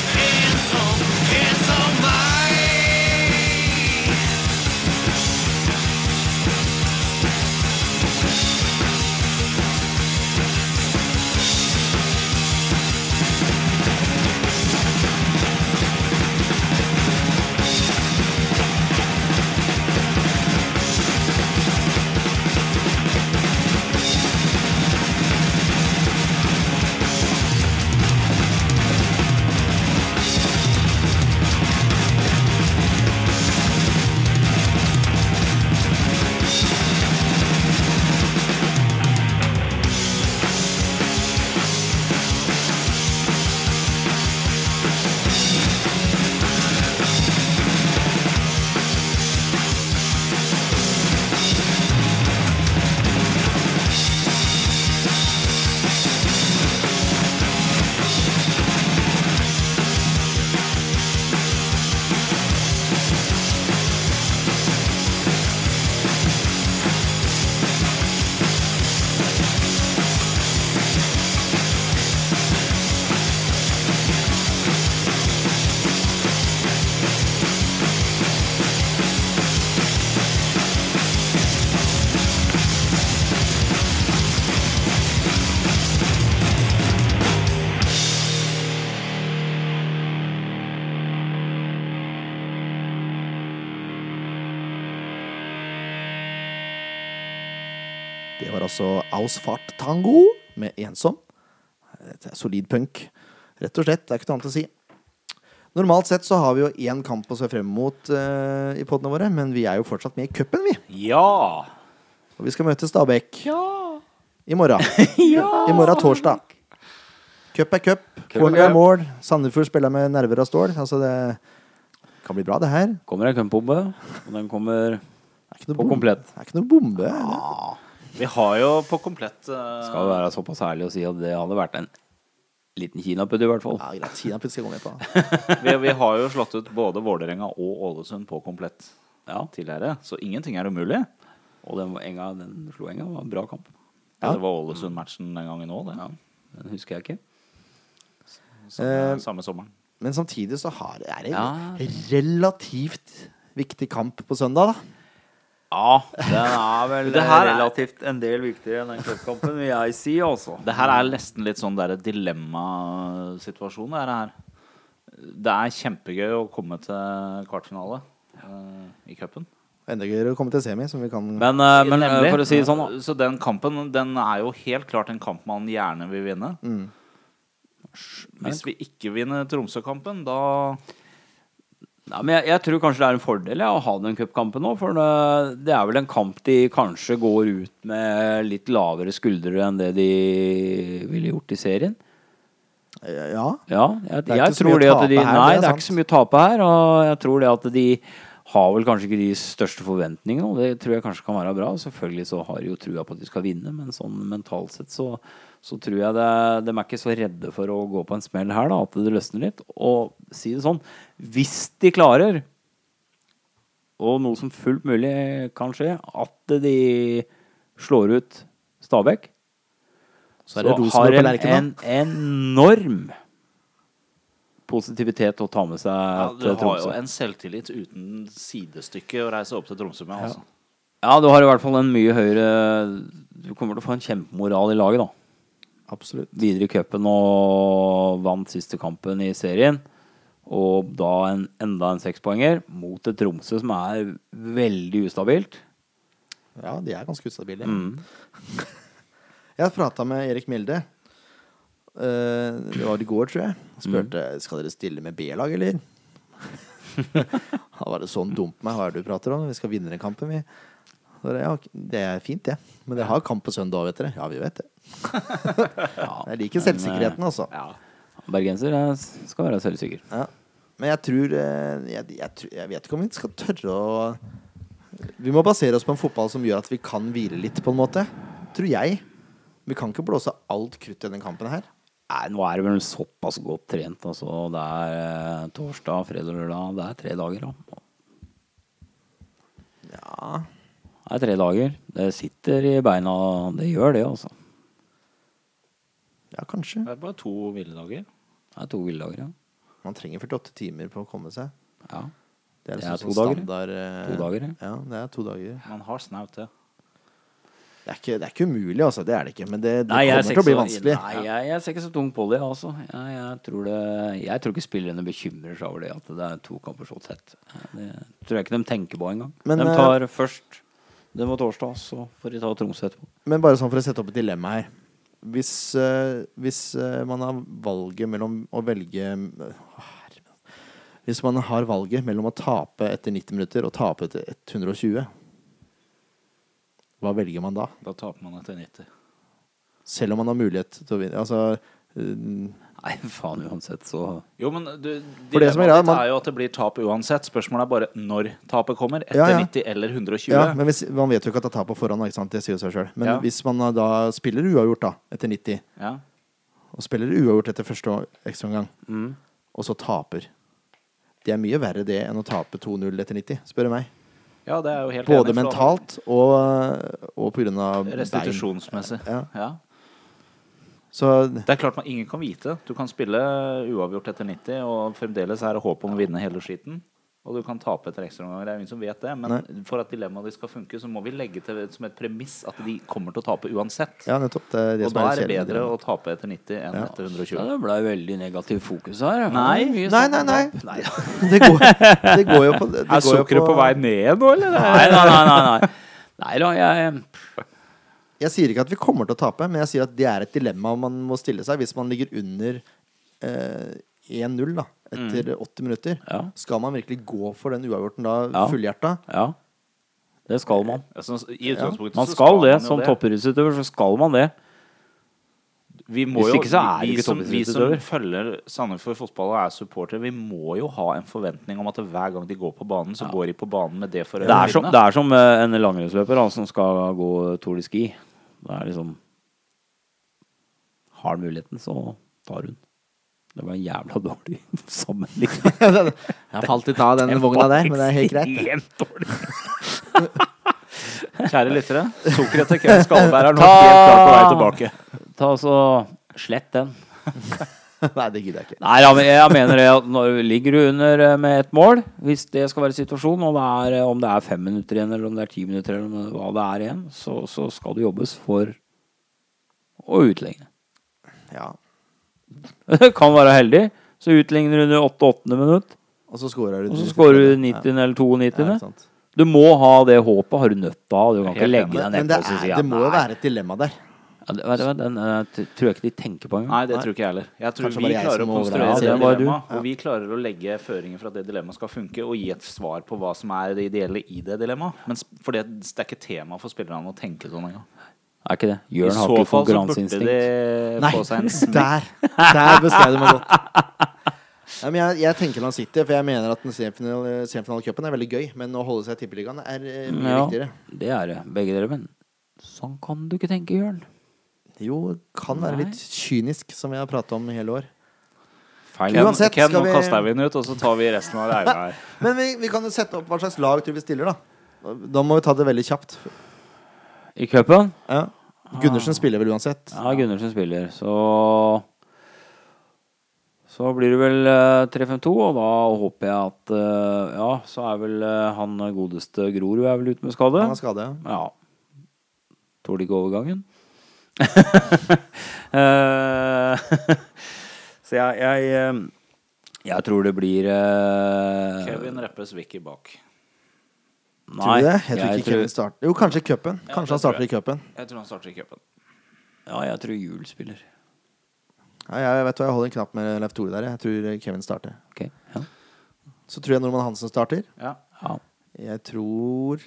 Det var altså Ausfart Tango med Ensom. Dette er solid punk. Rett og slett. Det er ikke noe annet å si. Normalt sett så har vi jo én kamp å se frem mot eh, i podene våre, men vi er jo fortsatt med i cupen, vi. Ja! Og vi skal møte Stabæk. I morgen. I morgen torsdag. Cup er cup. Mål er mål. Sandefjord spiller med nerver av stål. Altså det kan bli bra, det her. Kommer en kømpbombe, og den kommer Det er ikke noe På bombe. komplett. Det er ikke noe bombe. Vi har jo på komplett eh, Skal jo være såpass ærlig å si at det hadde vært en liten kinaputt, i hvert fall. Ja, greit. Kinaputt skal jeg gå med på. vi, vi har jo slått ut både Vålerenga og Ålesund på komplett tidligere, så ingenting er umulig. Og den, enga, den slo enga. Det var en bra kamp. Ja. Det var Ålesund-matchen den gangen òg, det. Den husker jeg ikke. Samme, Eh, samme sommeren. Men samtidig så har, er det en relativt viktig kamp på søndag, da. Ja, Den er vel Det her er- relativt en del viktigere enn den cupkampen, vil jeg si, altså. Det her er nesten litt sånn der dilemmasituasjon, det her. Det er kjempegøy å komme til kvartfinale eh, i cupen. Enda gøyere å komme til semi, som vi kan Men, eh, men eh, Nemlig. for å si det sånn, da. Så den kampen den er jo helt klart en kamp man gjerne vil vinne. Mm. Hvis vi ikke vinner Tromsø-kampen, da Nei, men jeg, jeg tror kanskje det er en fordel ja, å ha den cupkampen nå, for det, det er vel en kamp de kanskje går ut med litt lavere skuldre enn det de ville gjort i serien. Ja. Ja, jeg, Det er ikke jeg så mye tror å det at tape de her, Nei, det er det er ikke så sant. mye å tape her, og jeg tror det at de har vel kanskje ikke de største forventningene, og det tror jeg kanskje kan være bra. Selvfølgelig så har de jo trua på at de skal vinne, men sånn mentalt sett så, så tror jeg det, de er ikke så redde for å gå på en smell her, da, at det løsner litt. Og si det sånn, hvis de klarer, og noe som fullt mulig kan skje, at de slår ut Stabæk, Så er det har Rosenborg på en, Lerkendal. en enorm positivitet å ta med seg ja, Du til har jo eh, Tromsø. en selvtillit uten sidestykke å reise opp til Tromsø med. Altså. Ja, du har i hvert fall en mye høyere Du kommer til å få en kjempemoral i laget, da. Absolutt. Videre i cupen og vant siste kampen i serien. Og da en, enda en sekspoenger mot et Tromsø som er veldig ustabilt. Ja, de er ganske ustabile. jeg har prata med Erik Mjelde. Eh, Det var i går, tror jeg. Han Spurte skal dere stille med B-lag, eller? Han var det sånn dumt meg, hva er det du prater om? Vi skal vinne den kampen, vi. Så det, ja, ok, det er fint, det. Men dere har kamp på søndag, vet dere. Ja, vi vet det. jeg liker eh, selvsikkerheten, altså. Bergenser eh, skal være selvsikker. Ja. Men jeg tror eh, jeg, jeg, tror- jeg vet ikke om vi skal tørre å Vi må basere oss på en fotball som gjør at vi kan hvile litt, på en måte. Tror jeg. Vi kan ikke blåse alt krutt i denne kampen her. Nei, nå er det vel såpass godt trent, altså. Det er eh, torsdag, fredag, lørdag. Det er tre dager, da. Ja Det er tre dager. Det sitter i beina. Det gjør det, altså. Ja, kanskje. Det er bare to hviledager. Det er to hviledager, ja. Man trenger 48 timer på å komme seg. ja. Det er, Det liksom er to sånn dager, standard eh, To dager, ja. ja. Det er to dager. Man har snaut til. Det er ikke, det er ikke umulig, altså. Det er det ikke. Men det, det jeg kommer ser til å bli ikke så- vanskelig. Nei, jeg, jeg ser ikke så tung på det, altså. Jeg, jeg, tror det, jeg tror ikke spillerne bekymrer seg over det at det er to kamper så tett. Det tror jeg ikke de tenker på engang. Men, eh, De tar først Det var torsdag, så får de ta Tromsø etterpå. Men bare sånn for å sette opp et dilemma her. Hvis, eh, hvis eh, man har valget mellom å velge eh, Å, herre min. Hvis man har valget mellom å tape etter 90 minutter og tape etter 120, hva velger man da? Da taper man etter 90. Selv om man har mulighet til å vinne. Altså, eh, Nei, faen uansett, så Jo, men du, For det som er greia, Dilemmaet ditt man- er jo at det blir tap uansett. Spørsmålet er bare når tapet kommer. Etter Ja, ja. 90 eller 120. ja, men hvis, man vet jo ikke at det er tap på forhånd, ikke sant? det sier jo seg sjøl. Men Ja. hvis man da spiller uavgjort da, etter 90, Ja. og spiller uavgjort etter første ekstraomgang, Mm. og så taper Det er mye verre det enn å tape 2-0 etter 90, spør du meg. Ja, det er jeg jo helt Både enig, for da- mentalt og, og på grunn av bein. Restitusjonsmessig. Ja. Ja. Så Det er klart man ingen kan vite. Du kan spille uavgjort etter 90, og fremdeles er det håp om å vinne hele skiten. Og du kan tape etter ekstraomganger. Det er jo ingen som vet det. Men Nei. for at dilemmaet ditt skal funke, så må vi legge til som et premiss at de kommer til å tape uansett. ja, nettopp. Det er det og som da er er det kjedelig. bedre å tape etter 90 enn etter ja, 120. Det blei veldig negativt fokus her. Nei. Nei, Mye snakk nei, om nei. det. nei. Det går, det går jo på det Er går jo sukkeret på vei ned nå, eller? Nei, nei, nei. Nei, nei, nei da, jeg Jeg sier ikke at vi kommer til å tape, men jeg sier at det er et dilemma man må stille seg hvis man ligger under eh, 1-0 da etter Mm. 80 minutter. Ja. Skal man virkelig gå for den uavgjorten da Ja. fullhjerta? Ja. Det skal man. Jeg synes, I utgangspunktet Man så skal det. man jo Som toppidrettsutøver så skal man det. Vi må Hvis jo, ikke så er vi, det ikke som, vi som toppidrettsutøver. følger Sandefjord fotball og er supportere, vi må jo ha en forventning om at hver gang de går på banen, så går de på banen med det for Det er som, det er som eh, en langrennsløper da, som skal gå Tour de Ski. Det er liksom Har han muligheten, så tar hun. Det var en jævla dårlig sammenligning. Jeg falt litt av den vogna der, men det er helt greit. Ekstremt dårlig. Kjære lyttere, sukkeret til Kevin Skalberg er nå Ta- helt klart på vei tilbake. Ta og så slett den. Nei, det gidder jeg ikke. Nei, ja, men jeg mener det at når ligger du under eh, med ett mål, hvis det skal være situasjonen, og det er, eh, om det er fem minutter igjen, eller om det er ti minutter, eller om det- hva det er igjen, så, så skal det jobbes for å utligne. Ja. kan være heldig, så utligner du under 8-8 minutt, Og så scorer du. og så 90. skårer du 90 Ja. eller Ja, 92. ikke sant. Du må ha det håpet, har du nødt til å ha. Du kan ikke Helt legge enig. deg Men det, nedpå og er, si ja, det må jo nei. være et dilemma der. Ja, det- vet du hva, Den eh, t- tror jeg ikke de tenker på engang. Nei, det tror ikke jeg heller. Jeg tror Kanskje vi bare jeg klarer som å må konstruere overreagere. det Ja, det var du. dilemmaet, og vi klarer å legge føringer for at det dilemmaet skal funke, og gi et svar på hva som er det ideelle i det dilemmaet. Men sp- for det, det er ikke tema for spillerne å tenke sånn engang. Er ikke det. I Jørn har så ikke fall så burde konkurranseinstinkt. de Nei, få seg en smekk. der! Der beskrev du meg godt. Nei, men jeg, jeg tenker Man City, for jeg mener at den semifinal- semifinalecupen er veldig gøy. Men å holde seg i Tippeligaen er eh, mye Ja, viktigere. det er det, begge dere. Men sånn kan du ikke tenke, Jørn. Jo, kan være Nei. litt kynisk, som vi har pratet om i hele år. Feil. Uansett, Ken, skal nå vi- kaster vi den ut, og så tar vi resten av reia her. Men vi, vi kan jo sette opp hva slags lag tror vi stiller, da. Da må vi ta det veldig kjapt. I cupen Ja. Gundersen spiller vel uansett. Ja, Gundersen spiller, så Så blir det vel eh, 3-5-2, og da håper jeg at eh, Ja, så er vel eh, han godeste Grorud er vel ute med skade. Han er skade. Ja. Tåler ikke overgangen. Eh, så jeg jeg, eh, jeg tror det blir eh, Kevin Reppes Vicky bak. Nei, Tror du det? Jeg tror jeg ikke Kevin starter Jo, kanskje i cupen. Ja, det Kanskje han tror starter i cupen. Jeg tror han starter i cupen. Ja, jeg tror Juel spiller. Ja, jeg vet hva, jeg holder en knapp med Leif Tore der. Jeg tror Kevin starter. Ok, ja. Så tror jeg Norman Hansen starter. Ja. ja. Jeg tror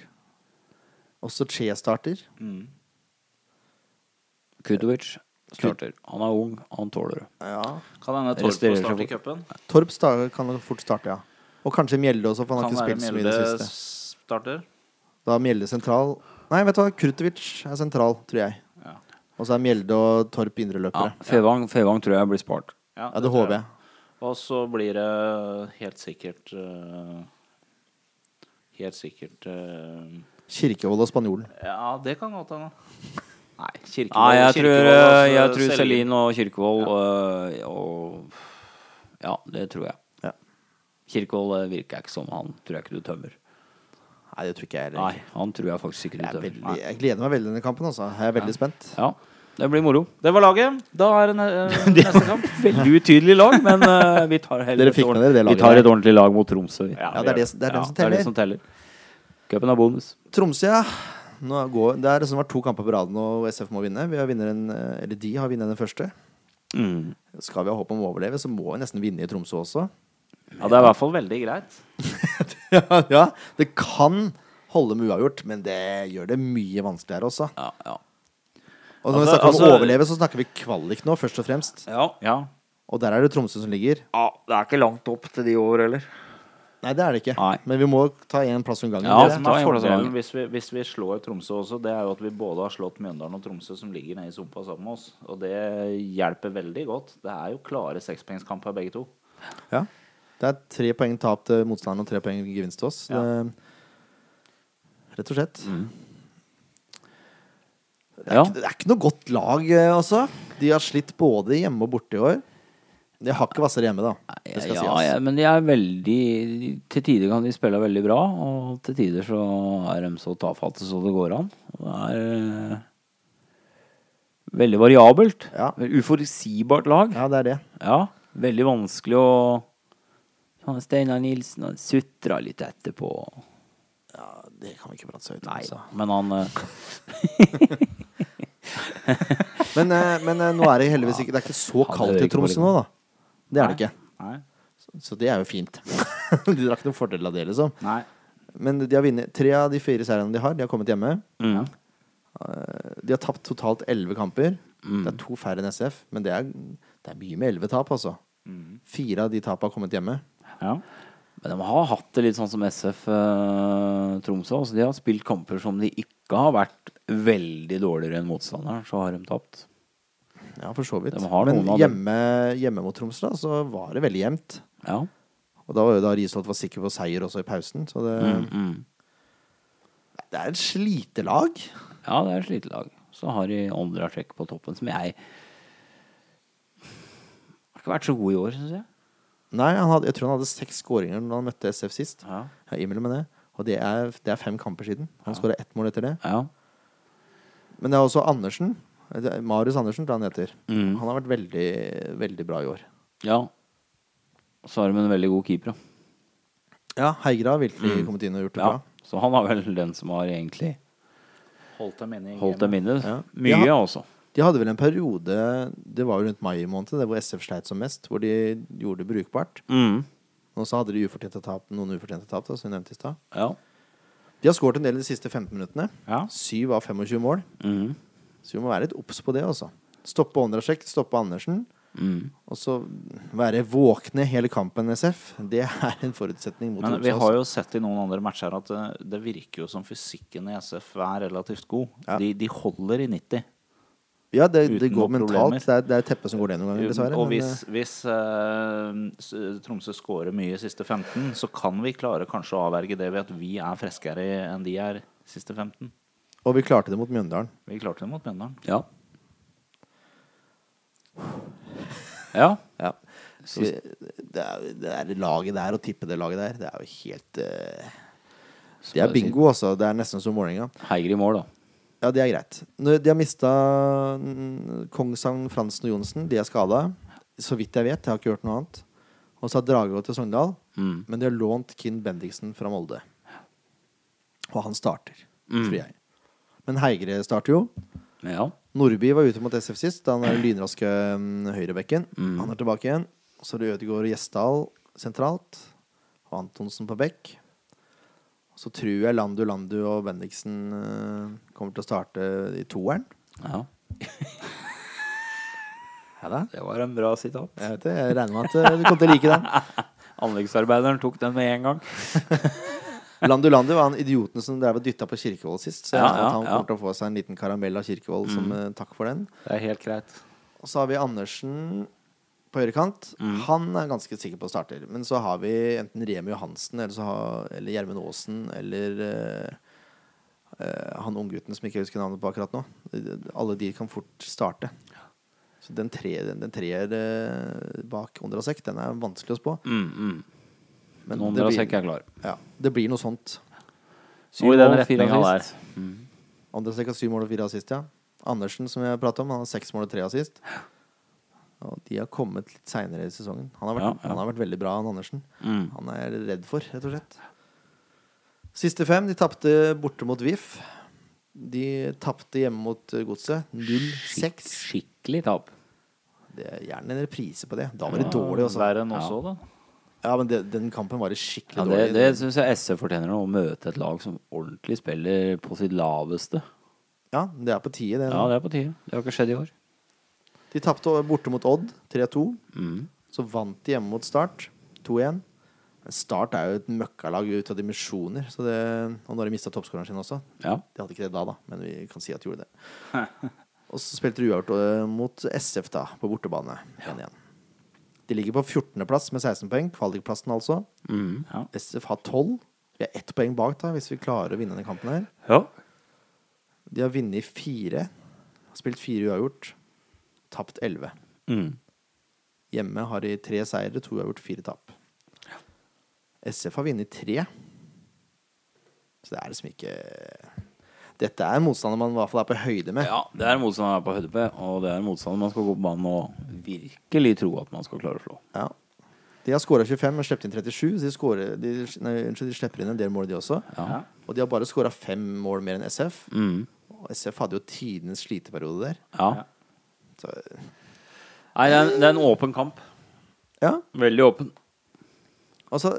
også Che starter. Mm. Kutovic starter. Han er ung, han tåler det. Ja. Kan hende Torp Resterer får seg starte i fort. cupen. Torp sta- kan nok fort starte, ja. Og kanskje Mjelde også, for han har Kan ikke være spilt så mye i Mjelde det siste. starter. Da er Mjelde sentral Nei, vet du hva, Krutovic er sentral, tror jeg. Ja. Og så er Mjelde og Torp indreløpere. Ja. Fevang, Fevang tror jeg blir spart. Ja, det håper jeg. Og så blir det helt sikkert eh, Helt sikkert eh, Kirkevold og spanjolen. Ja, det kan godt hende. Nei, Kirkevold Nei, jeg tror, eh, Kirkevold, altså, jeg tror Selin. Selin og Kirkevold øh, og Ja, det tror jeg. Ja. Kirkevold øh, virker ikke som han tror jeg ikke du tømmer. Nei, det tror ikke jeg Nei, heller. han tror jeg faktisk ikke du Jeg, er tømmer. veldig- Nei. jeg gleder meg veldig til denne kampen, altså. Jeg er veldig spent. Ja, det blir moro. Det var laget. Da er det ne- eh, neste kamp. Veldig utydelig lag, men øh, vi tar heller Dere fikk med dere det Vi laget tar der. et ordentlig lag mot Tromsø. vi. Ja, det er det, det, er Ja, den som teller. som teller. Cupen er bonus. Tromsø, ja. Nå går, det er det som har to kamper på rad nå, og SF må vinne. Vi har vinner en, eh, eller de har vunnet den første. Mm. Skal vi ha håp om å overleve, så må vi nesten vinne i Tromsø også. Ja, det er i hvert fall veldig greit. ja, Det kan holde med uavgjort, men det gjør det mye vanskeligere også. Ja, ja. Og når vi Altså- snakker om altså- å overleve, så snakker vi kvalik nå, først og fremst. Ja. Ja. Og der er det Tromsø som ligger. det er ikke langt opp til de over heller. Nei, det er det ikke. Nei. Men vi må ta én plass om gangen. Ja, dere. det som ta er en fordelen omgang. hvis vi, hvis vi slår Tromsø også, det er jo at vi både har slått Mjøndalen og Tromsø, som ligger nede i sumpa sammen med oss. Og det hjelper veldig godt. Det er jo klare sekspoengskamper, begge to. Ja. Det er tre poeng tap til motstanderen og tre poeng gevinst til oss. Det, rett og slett. Det, er Ja. ikke, det er ikke noe godt lag, eh, altså. De har slitt både hjemme og borte i år. De har ikke hvassere hjemme, da. Det skal ja, sies. ja, men de er veldig Til tider kan de spille veldig bra, og til tider så er de så tafatte så det går an. Og Det er eh, veldig variabelt. Ja. Uforutsigbart lag. Ja. Ja, det er det. Veldig vanskelig å Han Steinar Nilsen han sutra litt etterpå. altså. Ja, det kan vi ikke prate så høyt om. Nei altså. da, men han eh, Men, eh, men eh, nå er det heldigvis ikke Det er ikke så Han kaldt hører i ikke på Tromsø nå, da. Det er det ikke. Nei. Så det er jo fint. de drar ikke noen fordel av det, liksom. Nei. Men de har vunnet tre av de fire seirene de har. De har kommet hjemme. Mm. De har tapt totalt elleve kamper. Mm. Det er to færre enn SF, men det er, det er mye med elleve tap, altså. Mm. Fire av de tapene har kommet hjemme. Ja. Men de har hatt det litt sånn som SF eh, Tromsø. Altså, de har spilt kamper som de ikke har vært veldig dårligere enn motstanderen, så har de tapt. Ja, for så vidt. De har Men noen av dem. hjemme, hjemme mot Tromsø, da, så var det veldig jevnt. Ja. Og da var jo da Risholt var sikker på seier også i pausen, så det Mm. Det er et slitelag. ja, det er et slitelag. Så har de andre trekk på toppen, som jeg Har ikke vært så god i år, syns jeg. Nei, han hadde, jeg tror han hadde seks skåringer når han møtte SF sist. Ja. Jeg innrømmer med det. Og det er, det er fem kamper siden. Han skåra ett mål etter det. Ja. Men det er også Andersen. Det er Marius Andersen, tror jeg han heter. Mm. Han har vært veldig, veldig bra i år. ja. Så har de en veldig god keeper, da. Ja, Heigra har virkelig kommet inn og gjort det Mm. Ja. bra. Så han er vel den som har egentlig Holdt dem inne i holdt dem inne. Ja. Mye, Ja. altså. De hadde vel en periode, det var jo rundt mai i måned, det hvor SF sleit som mest, hvor de gjorde det brukbart. Mm. Og så hadde de ufortjente tap, noen ufortjente tap, da, som vi nevnte i stad. Ja. De har skåret en del de siste 15 minuttene. Ja. 7 av 25 mål. Mhm. Så vi må være litt obs på det, altså. Stoppe Ondrasjek, stoppe Andersen. Mhm. Og så være våkne hele kampen, SF. Det er en forutsetning mot Men Tromsø, vi har altså. jo sett i noen andre matcher at eh, det virker jo som fysikken i SF er relativt god. Ja. De, de holder i 90. Ja, det, uten det går noen mentalt. problemer. Det er, det er teppet som går ned noen ganger, dessverre. og men, hvis, eh, hvis eh, s- Tromsø scorer mye i siste 15, så kan vi klare kanskje å avverge det ved at vi er friskere enn de er siste 15. og vi klarte det mot Mjøndalen. Vi klarte det mot Mjøndalen. Ja. Ja. Ja. Så vi, det, er, det er laget der, å tippe det laget der, det er jo helt eh, Det er bingo, altså. Det er nesten som Vålerenga. Heier i mål, da. Ja, det er greit. Nå- De har mista Kongsang, Fransen og Johnsen. De er skada. Så vidt jeg vet. Jeg har ikke hørt noe annet. Og så har Drage gått til Sogndal. Men de har lånt Kinn Bendiksen fra Molde. Og han starter, tror jeg. Men Heigre starter jo. Ja. Nordby var ute mot SF sist. Han er den lynraske mm, høyrebekken. Han er tilbake igjen. Så er det Ødegaard og Gjesdal sentralt. Og Antonsen på bekk. Så tror jeg Landu Landu og Bendiksen eh, kommer til å starte i toeren. ja. Det var en bra sitat. Jeg vet det, jeg regner med at eh, du kommer til å like den. Anleggsarbeideren tok den med en gang. Landu Landu var han idioten som drev og dytta på Kirkevold sist. Så jeg Ja, regner med at ja, han ja. Mm. kommer til å få seg en liten karamell av Kirkevold som eh, takk for den. Det er helt greit. Og så har vi Andersen på høyrekant. Mm. Han er jeg ganske sikker på at starter. Men så har vi enten Remi Johansen eller, så har- eller Gjermund Aasen eller eh, eh, han unggutten som jeg ikke husker navnet på akkurat nå. Alle de kan fort starte. Så den treer, den, den treer eh, bak Ondrasek, den er vanskelig å spå. Men Noen det dere blir- Mm, sekk er klar. Ja, det blir noe sånt. Syv i den mål, fire retninga assist. Ondrasek har syv mål og fire assist, ja. Andersen, som jeg pratet om, han har seks mål og tre assist. Og de har kommet litt seinere i sesongen. Han har, vært, Ja, Mm. ja. han har vært veldig bra, han Andersen. Han er jeg redd for, rett og slett. Siste fem, de tapte borte mot VIF. De tapte hjemme mot eh, Godset. 0-6. Skikkelig tap. Det er Gjerne en reprise på det. Da var det dårlig også. Verre enn også, da. Ja, men det, den kampen var det skikkelig Ja, det det dårlig. syns jeg SV fortjener nå, å møte et lag som ordentlig spiller på sitt laveste. Ja, det er på tide, det. Ja, det er på tide. Det har ikke skjedd i år. De tapte borte mot Odd 3-2. Så vant de hjemme mot Start 2-1. Men Start er jo et møkkalag ut av dimensjoner. Så det, og nå har de mista toppskåreren sin også. Ja. De hadde ikke det da, da, men vi kan si at de gjorde det. og så spilte de uavgjort eh, mot SF, da, på bortebane. 1-1. De ligger på 14.-plass med 16 poeng, kvalikplassen altså. ja. SF har 12. Vi er ett poeng bak, da, hvis vi klarer å vinne denne kampen her. ja. De har vunnet fire. Spilt fire uavgjort. Tapt elleve. Hjemme har de tre seire, to uavgjort, fire tap. SF har vunnet tre. Så det er liksom ikke Dette er en motstander man i hvert fall er på høyde med. Ja, det er en motstander man er på høyde på, og det er en motstander man skal gå på banen og virkelig tro at man skal klare å slå. Ja. De har skåra 25, men sluppet inn 37. Så de, scorer, de, nei, unnskyld, de slipper inn en del mål, de også. Ja. Mm. Og de har bare skåra fem mål mer enn SF. Og SF hadde jo tidenes sliteperiode der. Ja. Så, Nei, det er, en- det er en åpen kamp. ja. Veldig åpen. Altså,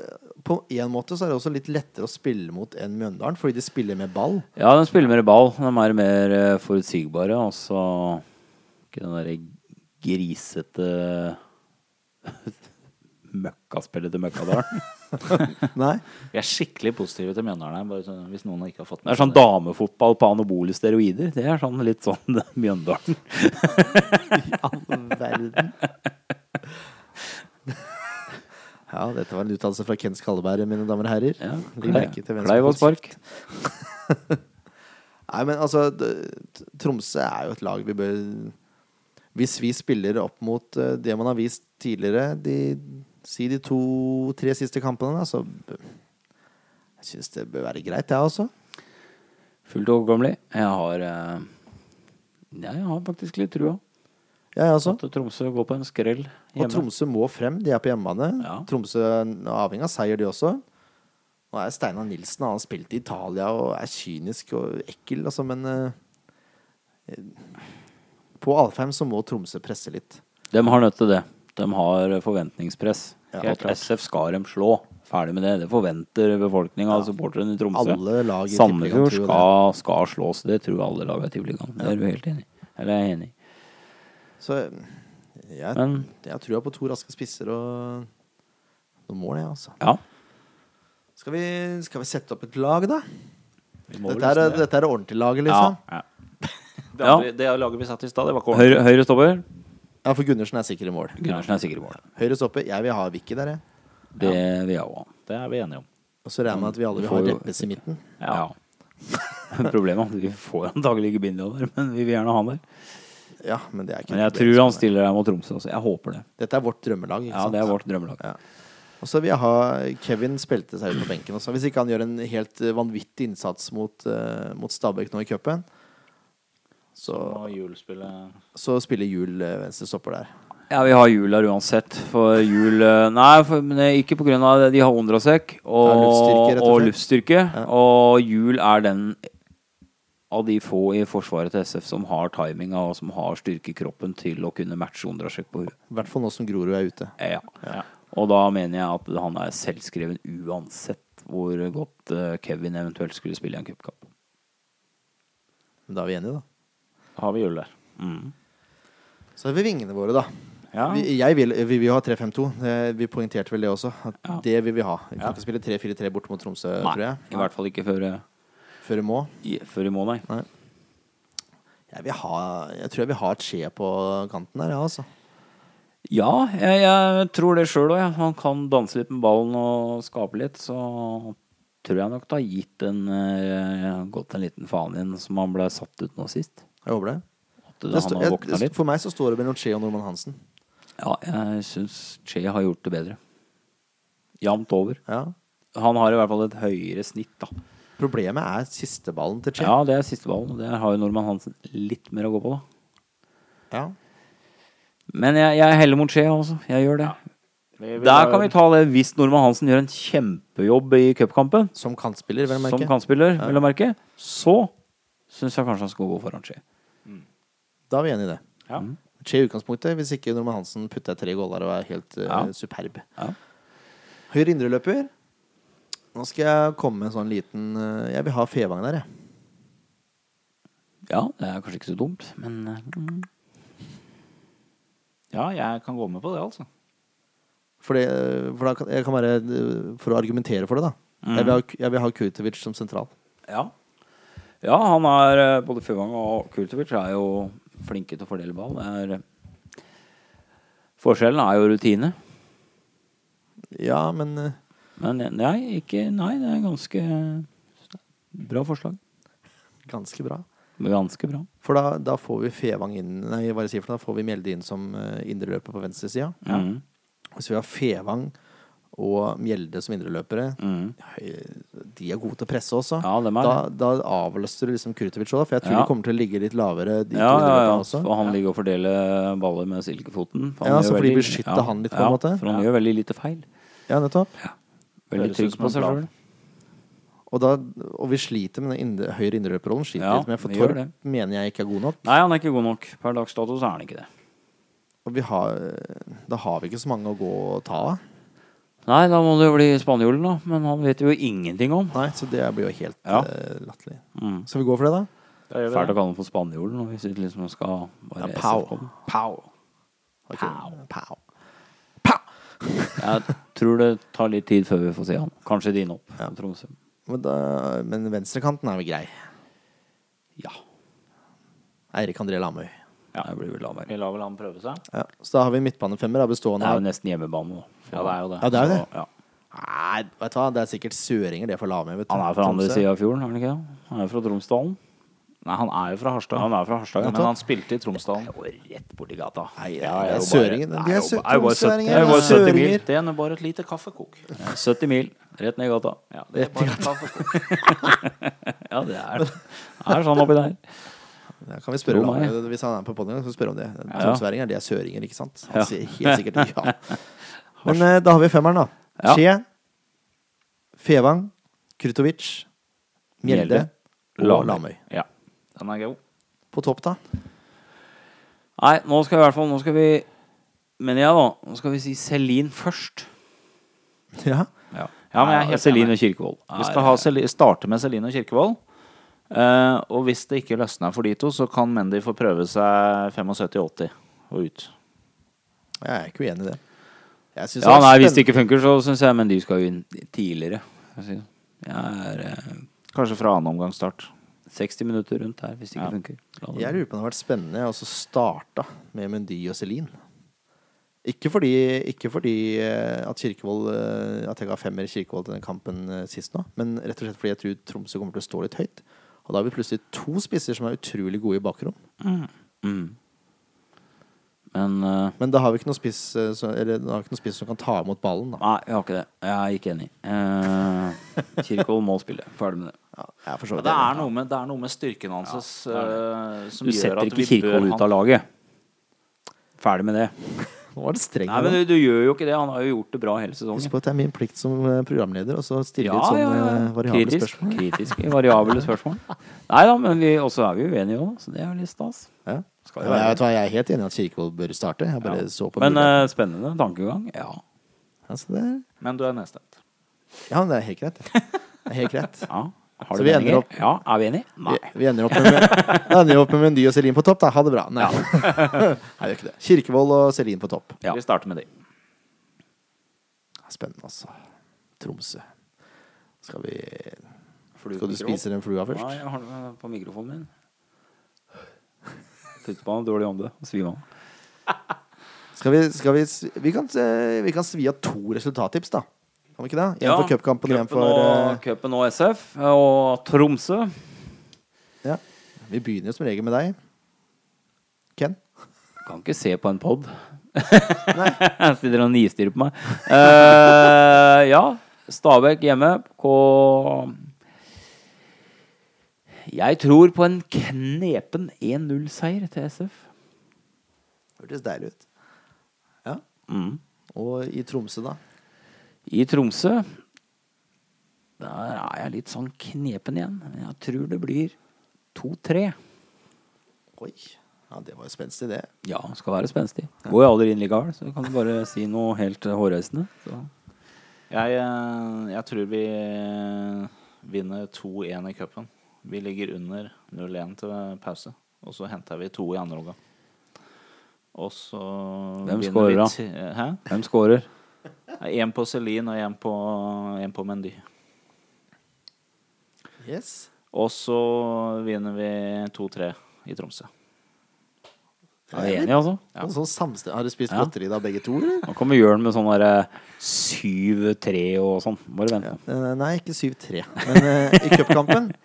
på en måte så er det også litt lettere å spille mot enn Mjøndalen, fordi de spiller med ball. Ja, de spiller mer ball. De er mer eh, forutsigbare. Og så ikke den derre grisete møkkaspillet til Møkkadalen. Nei. Vi er skikkelig positive til Mjøndalen her, bare sånn, hvis noen ikke har fått Det er sånn damefotball på anabole steroider. Det er sånn litt sånn Mjøndalen. verden. Ja, dette var en uttalelse fra Ken Skalleberg, mine damer og herrer. Ja, Legg merke til hvem som Kleiv og får spark. Nei, men altså d- Tromsø er jo et lag vi bør Hvis vi spiller opp mot eh, det man har vist tidligere, de, si de to-tre siste kampene, da, så b- Jeg syns det bør være greit, jeg også. Fullt overkommelig. Jeg har eh, ja, jeg har faktisk litt trua. Jeg også. At Tromsø går på en skrell Og hjemme. Tromsø må frem. De er på hjemmebane. Ja. Tromsø er avhengig av seier, de også. Nå er Steinar Nilsen han har spilt i Italia og er kynisk og ekkel, altså, men eh, På Alfheim så må Tromsø presse litt. De har nødt til det. De har forventningspress. Ja, At klart. SF skal dem slå. Ferdig med det. Det forventer befolkninga og supporterne i Tromsø. Alle lag i Tippeligaen Sandefjord tror jo skal, skal slås. Det tror alle lag i Tippeligaen. Det er du helt enig i. Eller jeg er enig i. Så jeg, Men- jeg tror jeg på to raske spisser og noen mål, jeg, altså. Ja. Skal vi, skal vi sette opp et lag, da? må Dette er, dette er ordentlig laget, liksom? Ja. Det, andre, det laget vi satt i stad, det var ikke Høyre, høyre stopper. for Gundersen er sikker i mål. Gundersen er sikker i mål. Høyre stopper. Jeg vil ha Vicky der, jeg. Det vil jeg òg. Det er vi enige om. Og så regner jeg med at vi alle vil ha Får jo- Reppes i midten. Ja. Problemet er at vi får antagelig ikke Bindio der, men vi vil gjerne ha han der. Ja, men det er ikke Men jeg noe tror problem. han stiller der mot Tromsø også. Jeg håper det. Dette er vårt drømmelag. Ikke Ja, sant? det er vårt drømmelag. Ja. Og så vil jeg ha Kevin spilte seg ut på benken også. Hvis ikke han gjør en helt eh, vanvittig innsats mot, eh, mot Stabæk nå i cupen, så, Og julespillet så spiller Juel eh, venstre stopper der. Ja, vi har jul der uansett. For jul eh, Nei, for, men det er ikke pga. det. De har Ondrasek og, Ja, luftstyrke, rett og og slett. luftstyrke. Ja. Og jul er den av de få i forsvaret til SF som har timinga og som har styrke i kroppen til å kunne matche Ondrasek på huet. I hvert fall nå som Grorud er ute. Ja. Og da mener jeg at han er selvskreven uansett hvor godt eh, Kevin eventuelt skulle spille i en cupkamp. Men da er vi enige, da. har vi jul der. Mm. Så har vi vingene våre, da. Ja. Vi, jeg vil, vi vil jo ha 3-5-2. Eh, Vi poengterte vel det også. At Ja. Det vil vi ha. Vi kan ikke spille 3-4-3 borte mot Tromsø, tror Nei, jeg. i hvert fall ikke før, eh, Før vi må. i, før i måned. Nei. Jeg, vil ha, jeg tror jeg vil ha et skje på kanten der, ja, altså. Ja, jeg, jeg tror det sjøl òg. Ja. Han kan danse litt med ballen og skape litt. Så tror jeg nok det har gitt en eh, gått en liten faen igjen, som han ble satt ut nå sist. Jeg håper det. At Det han sto- har jeg- våkna det- litt. For meg så står det mellom Che og Norman Hansen. Ja, jeg syns Che har gjort det bedre. Jevnt over. Ja. Han har i hvert fall et høyere snitt, da. Problemet er sisteballen til Che. Ja, det er siste ballen. Der har jo Norman Hansen litt mer å gå på, da. Ja. Men jeg, jeg heller mot Che, altså. Jeg gjør det. Vi- vi Der har- kan vi ta det hvis Norman Hansen gjør en kjempejobb i cupkampen. Som kantspiller, vel å merke. som kantspiller, vel å merke, så syns jeg kanskje han skal gå Mm. foran Skje. Da er vi enige i det. Ja. Che i utgangspunktet, hvis ikke Norman Hansen putter tre goller og er helt eh, Ja. superb. Ja. Høyre indreløper. Nå skal jeg komme med en sånn liten eh, Jeg vil ha Fevang der, jeg. Ja, det er kanskje ikke så dumt, men eh, mm. ja, jeg kan gå med på det, altså. For, det, eh, for da kan jeg kan være eh, For å argumentere for det, da. Mm. Jeg, vil ha, jeg vil ha Kurtovic som sentral. ja. ja, han er eh, Både Føvang og Kurtovic er jo flinke til å fordele ball. Det er, eh, forskjellen er jo rutine. Ja, men eh, Men eh, nei, ikke, nei det er ganske bra forslag. ganske bra. Ganske bra. For da, da får vi Fevang inn Nei, hva er det jeg sier for noe? Da får vi Mjelde inn som eh, indreløper på venstresida. Mm. Hvis vi har Fevang og Mjelde som indreløpere Mm. høy- De er gode til å presse også. Ja, dem er da, da avlaster du liksom Kurtovic òg, for jeg tror Ja. de kommer til å ligge litt lavere. De to Ja, ja, ja. indreløperne også. For han ligger og fordeler baller med silkefoten. Ja, gjør så får de veldig- beskytte han litt, på en måte. For han gjør veldig lite feil. Ja, nettopp. Veldig Høres ut trygg som på en seg plan. sjøl. Og, da, og vi sliter med den indre, høyre indreløperrollen. Sliter Ja, litt med For vi gjør Torp det. mener jeg ikke er god nok. Nei, han er ikke god nok. Per dags dato så er han ikke det. Og vi har, da har vi ikke så mange å gå og ta av. Nei, da må det jo bli spanjolen, da. Men han vet jo ingenting om. Nei, så det blir jo helt Ja. eh, latterlig. Mm. Skal vi gå for det, da? Da gjør Fælt vi å det. kalle ham for spanjolen når vi sitter liksom og skal bare Ja, pow. SF på den. Pow. Har ikke- Pow. Jeg tror det tar litt tid før vi får se han. Kanskje Dino opp Ja. på Tromsø. Men, da, men venstrekanten er vel grei. Ja. Eirik André Lamøy. Det blir vel Laberg. Vi lar vel han prøve seg. Ja. Så da har vi en midtbanefemmer da, bestående Det er av jo nesten hjemmebane, da. Ja, det er jo det. Ja, det er jo det. Så, ja. Nei, vet du hva, det er sikkert søringer det er for Lamøy. vet du. Han er fra andre Tromsø. sida av fjorden, er han ikke det? Han er fra Tromsdalen. Nei, han er jo fra Harstad. Han er fra Harstad, Men han spilte i Tromsdalen. Rett borti gata. Nei, det Ja, er jeg er jo bare- søringer. Nei, De er jeg er jo bare- jeg er jo bare søringer. søtt- jeg er jo de bare er søtt i søringer. Det er nå bare et lite kaffekok. 70 mil rett ned i gata. Ja, det er bare et kaffekok. Ja, det er det. er sånn oppi der. Da kan vi spørre Tro meg. Lamøy. Hvis han er på podkasten, kan vi spørre om det. Ja. Tromsøværinger, de er søringer, ikke sant? Han Ja. sier helt sikkert ja. Men eh, da har vi femmeren, da. Ja. Skje, Fevang, Krutovic, Mjelde Mjelde. og Lamøy. Lamøy. Ja, den er god. På topp, da? Nei, nå skal vi i hvert fall Nå skal vi Mener jeg, da. Nå skal vi si Celine først. Ja. Ja, Ja, men jeg er helt Celine enig. og Kirkevold. Vi skal ha Sel starte med Celine og Kirkevold. Eh, og hvis det ikke løsner for de to, så kan Mendy få prøve seg 75-80 og ut. Jeg er ikke uenig i det. Jeg synes Ja, det nei, er hvis det spennende. ikke funker, så syns jeg Men de skal jo inn tidligere. Jeg synes- Jeg er eh, Kanskje fra annen omgangsstart. 60 minutter rundt her hvis det ikke Ja. funker. La det- Jeg lurer på om det har vært spennende å starte med Mendy og Celine. Ikke fordi, ikke fordi eh, at Kirkevold eh, At jeg ga femmer Kirkevold til den kampen eh, sist nå, men rett og slett fordi jeg tror Tromsø kommer til å stå litt høyt. Og da har vi plutselig to spisser som er utrolig gode i bakrom. Mm. Men eh, Men da har vi ikke noen spiss, eh, så- eller, da har vi ikke noen spiss som kan ta imot ballen. Da. Nei, jeg har ikke det. Jeg er ikke enig. Eh, Kirkevold må spille. Ferdig med det. Ja, jeg er for så Ja, vidt det, enig. er noe med, det er noe med styrken hans eh, som Du gjør setter at ikke vi bør Kirkevold ut av han laget. Ferdig med det. Nå var det streng. Nei, men du, du gjør jo ikke det. Han har jo gjort det bra hele sesongen. Husk på at det er min plikt som eh, programleder å så stille litt sånn eh, variable Kritisk, spørsmål. kritiske, variable spørsmål. Nei da, men vi, også er vi uenige òg, så det er jo litt stas. Ja. Skal Ja, men jo være jeg, vet hva, jeg er helt enig i at Kirkevold bør starte. Jeg bare Ja. så på Men muligheten. eh, spennende tankegang. Ja. altså, det er Men du er nedstemt. Ja, men det er helt greit. Det er helt greit. ja. Har Så vi du ender meninger? opp- Ja, er vi enige? Vi, Nei. vi ender opp med, da ender vi opp med Mendy og Celine på topp, da. Ha det bra. Nei, Nei gjør ikke det. Kirkevold og Celine på topp. Ja. Vi starter med de. Spennende, altså. Tromsø. Skal vi Skal du spise den flua Nei, først? jeg har den eh, på mikrofonen min. Putt på han, dårlig ånde. og Svim av. Skal vi, skal vi, s- vi, kan, eh, vi kan svi av to resultattips, da. Kan vi ikke det? En for cupkampen og en cupen for og- eh, Cupen og SF og Tromsø. Ja. Vi begynner jo som regel med deg. Ken? Kan ikke se på en pod. Nei. Jeg sitter og nistirrer på meg. Eh, ja, Stabæk hjemme på Jeg tror på en knepen 1-0-seier til SF. Hørtes deilig ut. Ja. Mm. Og i Tromsø, da? I Tromsø Der er jeg litt sånn knepen igjen. Men jeg tror det blir 2-3. Oi. Ja, det var jo spenstig, det. Ja, skal være spenstig. Går jo aldri inn likevel, så kan du bare si noe helt eh, hårreisende. Så. Jeg, eh, jeg tror vi eh, vinner 2-1 i cupen. Vi ligger under 0-1 til pause. Og så henter vi to i andre omgang. Og så Hvem vinner scorer vi da? ti- eh, Hæ? Hvem scorer? Én på Celine og én på, en på Mendy. Yes. Og så vinner vi 2-3 i Tromsø. Er vi enige, altså? Ja. Sånn samstem- Har du spist Ja. godteri da, begge to? Eller? Nå kommer Jørn med sånn derre 7-3 og sånn. Bare vent. Eh, nei, ikke 7-3. Men eh, i cupkampen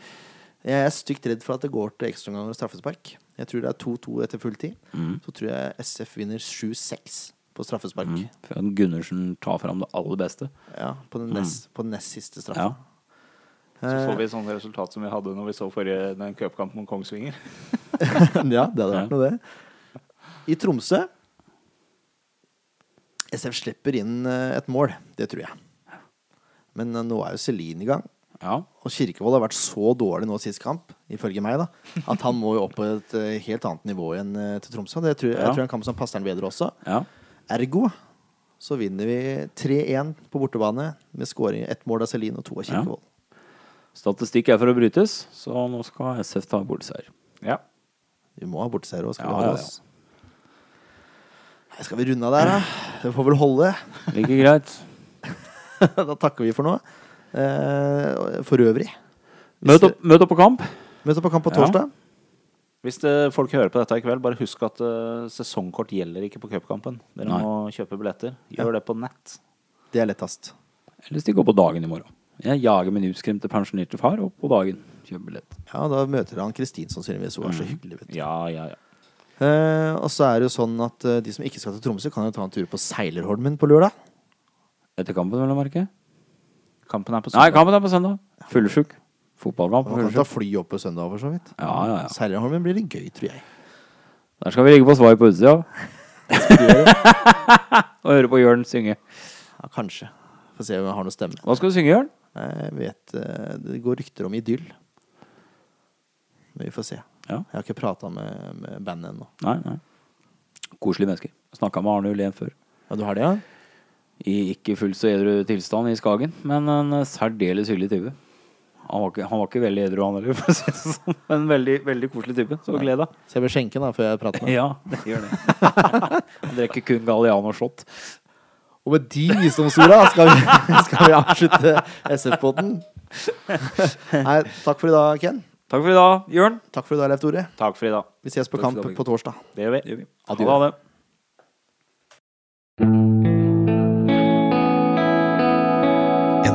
Jeg er stygt redd for at det går til ekstraomganger og straffespark. Jeg tror det er 2-2 etter full tid. Mm. Så tror jeg SF vinner 7-6 på straffespark. Mm. Før at Gundersen tar fram det aller beste. Ja, på den nest, på den nest siste Ja. straffa. Mm. Så får vi sånne resultat som vi hadde når vi så forrige den cupkampen mot Kongsvinger. Ja. det hadde vært noe, det. I Tromsø SF slipper inn eh, et mål. Det tror jeg. Men eh, nå er jo Celine i gang. Ja. Og Kirkevold har vært så dårlig nå sist kamp, ifølge meg, da, at han må jo opp på et eh, helt annet nivå igjen eh, til Tromsø. Det tror, Jeg Ja. tror det er en kamp som passer han bedre også. Ja. Ergo så vinner vi 3-1 på bortebane med scoring ett mål av Celine og to av Kirkevold. Statistikk er for å brytes, så nå skal SF ta bortseier. Ja. Vi må ha borteseier òg, skal Ja, vi ha ja, det. ass. Nei, Skal vi runde av der, da? Det får vel holde. Like greit. da takker vi for nå. Eh, for øvrig. Møt opp, møt opp på kamp. Møtes på kamp på Ja. torsdag. Hvis det, folk hører på dette i kveld, bare husk at eh, sesongkort gjelder ikke på cupkampen. Dere Nei. må kjøpe billetter. Gjør det på nett. Det er lettest. Eller stikk opp på dagen i morgen. Jeg jager min utskremte pensjonerte far opp på dagen. Kjøper billett. Ja, da møter han Kristin sannsynligvis. Hun er Mm. så hyggelig, vet du. Ja, ja, ja. Eh, og så er det jo sånn at eh, de som ikke skal til Tromsø, kan jo ta en tur på Seilerholmen på lørdag. Etter kampen, vel å merke. Kampen er på Nei, søndag. kampen er på søndag. Fullesjuk. Fotballkamp Og på Man kan ta fullesjuk. fly opp på søndag, for så vidt. Ja, ja, ja. Seilerholmen blir litt gøy, tror jeg. Der skal vi ligge på svar på utsida. Og høre på Jørn synge. Ja, kanskje. Får se om jeg har noe stemme. Hva skal du synge, Jørn? Nei, Jeg vet eh, Det går rykter om idyll. Men vi får se. Ja. Jeg har ikke prata med, med bandet ennå. Nei, nei. Koselig menneske. Snakka med Arne Ulen før. Ja, du har det, ja? I ikke fullt så edru tilstand i Skagen, men en eh, særdeles hyggelig type. Han var ikke, han var ikke veldig edru, han heller, for å si det sånn. Men veldig, veldig koselig type. Så gled deg. Så jeg bør skjenke, da, før jeg prater med ham. Ja, det gjør det. Han drikker kun Galliano shot. Og med de visdomsorda skal, vi- skal vi avslutte SF-poden. Nei, takk for i dag, Ken. Takk for i dag, Jørn. Takk for i dag, Leif Tore. Takk for i dag. Vi ses på Takk kamp for i dag. på torsdag. Det gjør vi. Gjør vi. Adjø. Ha det. En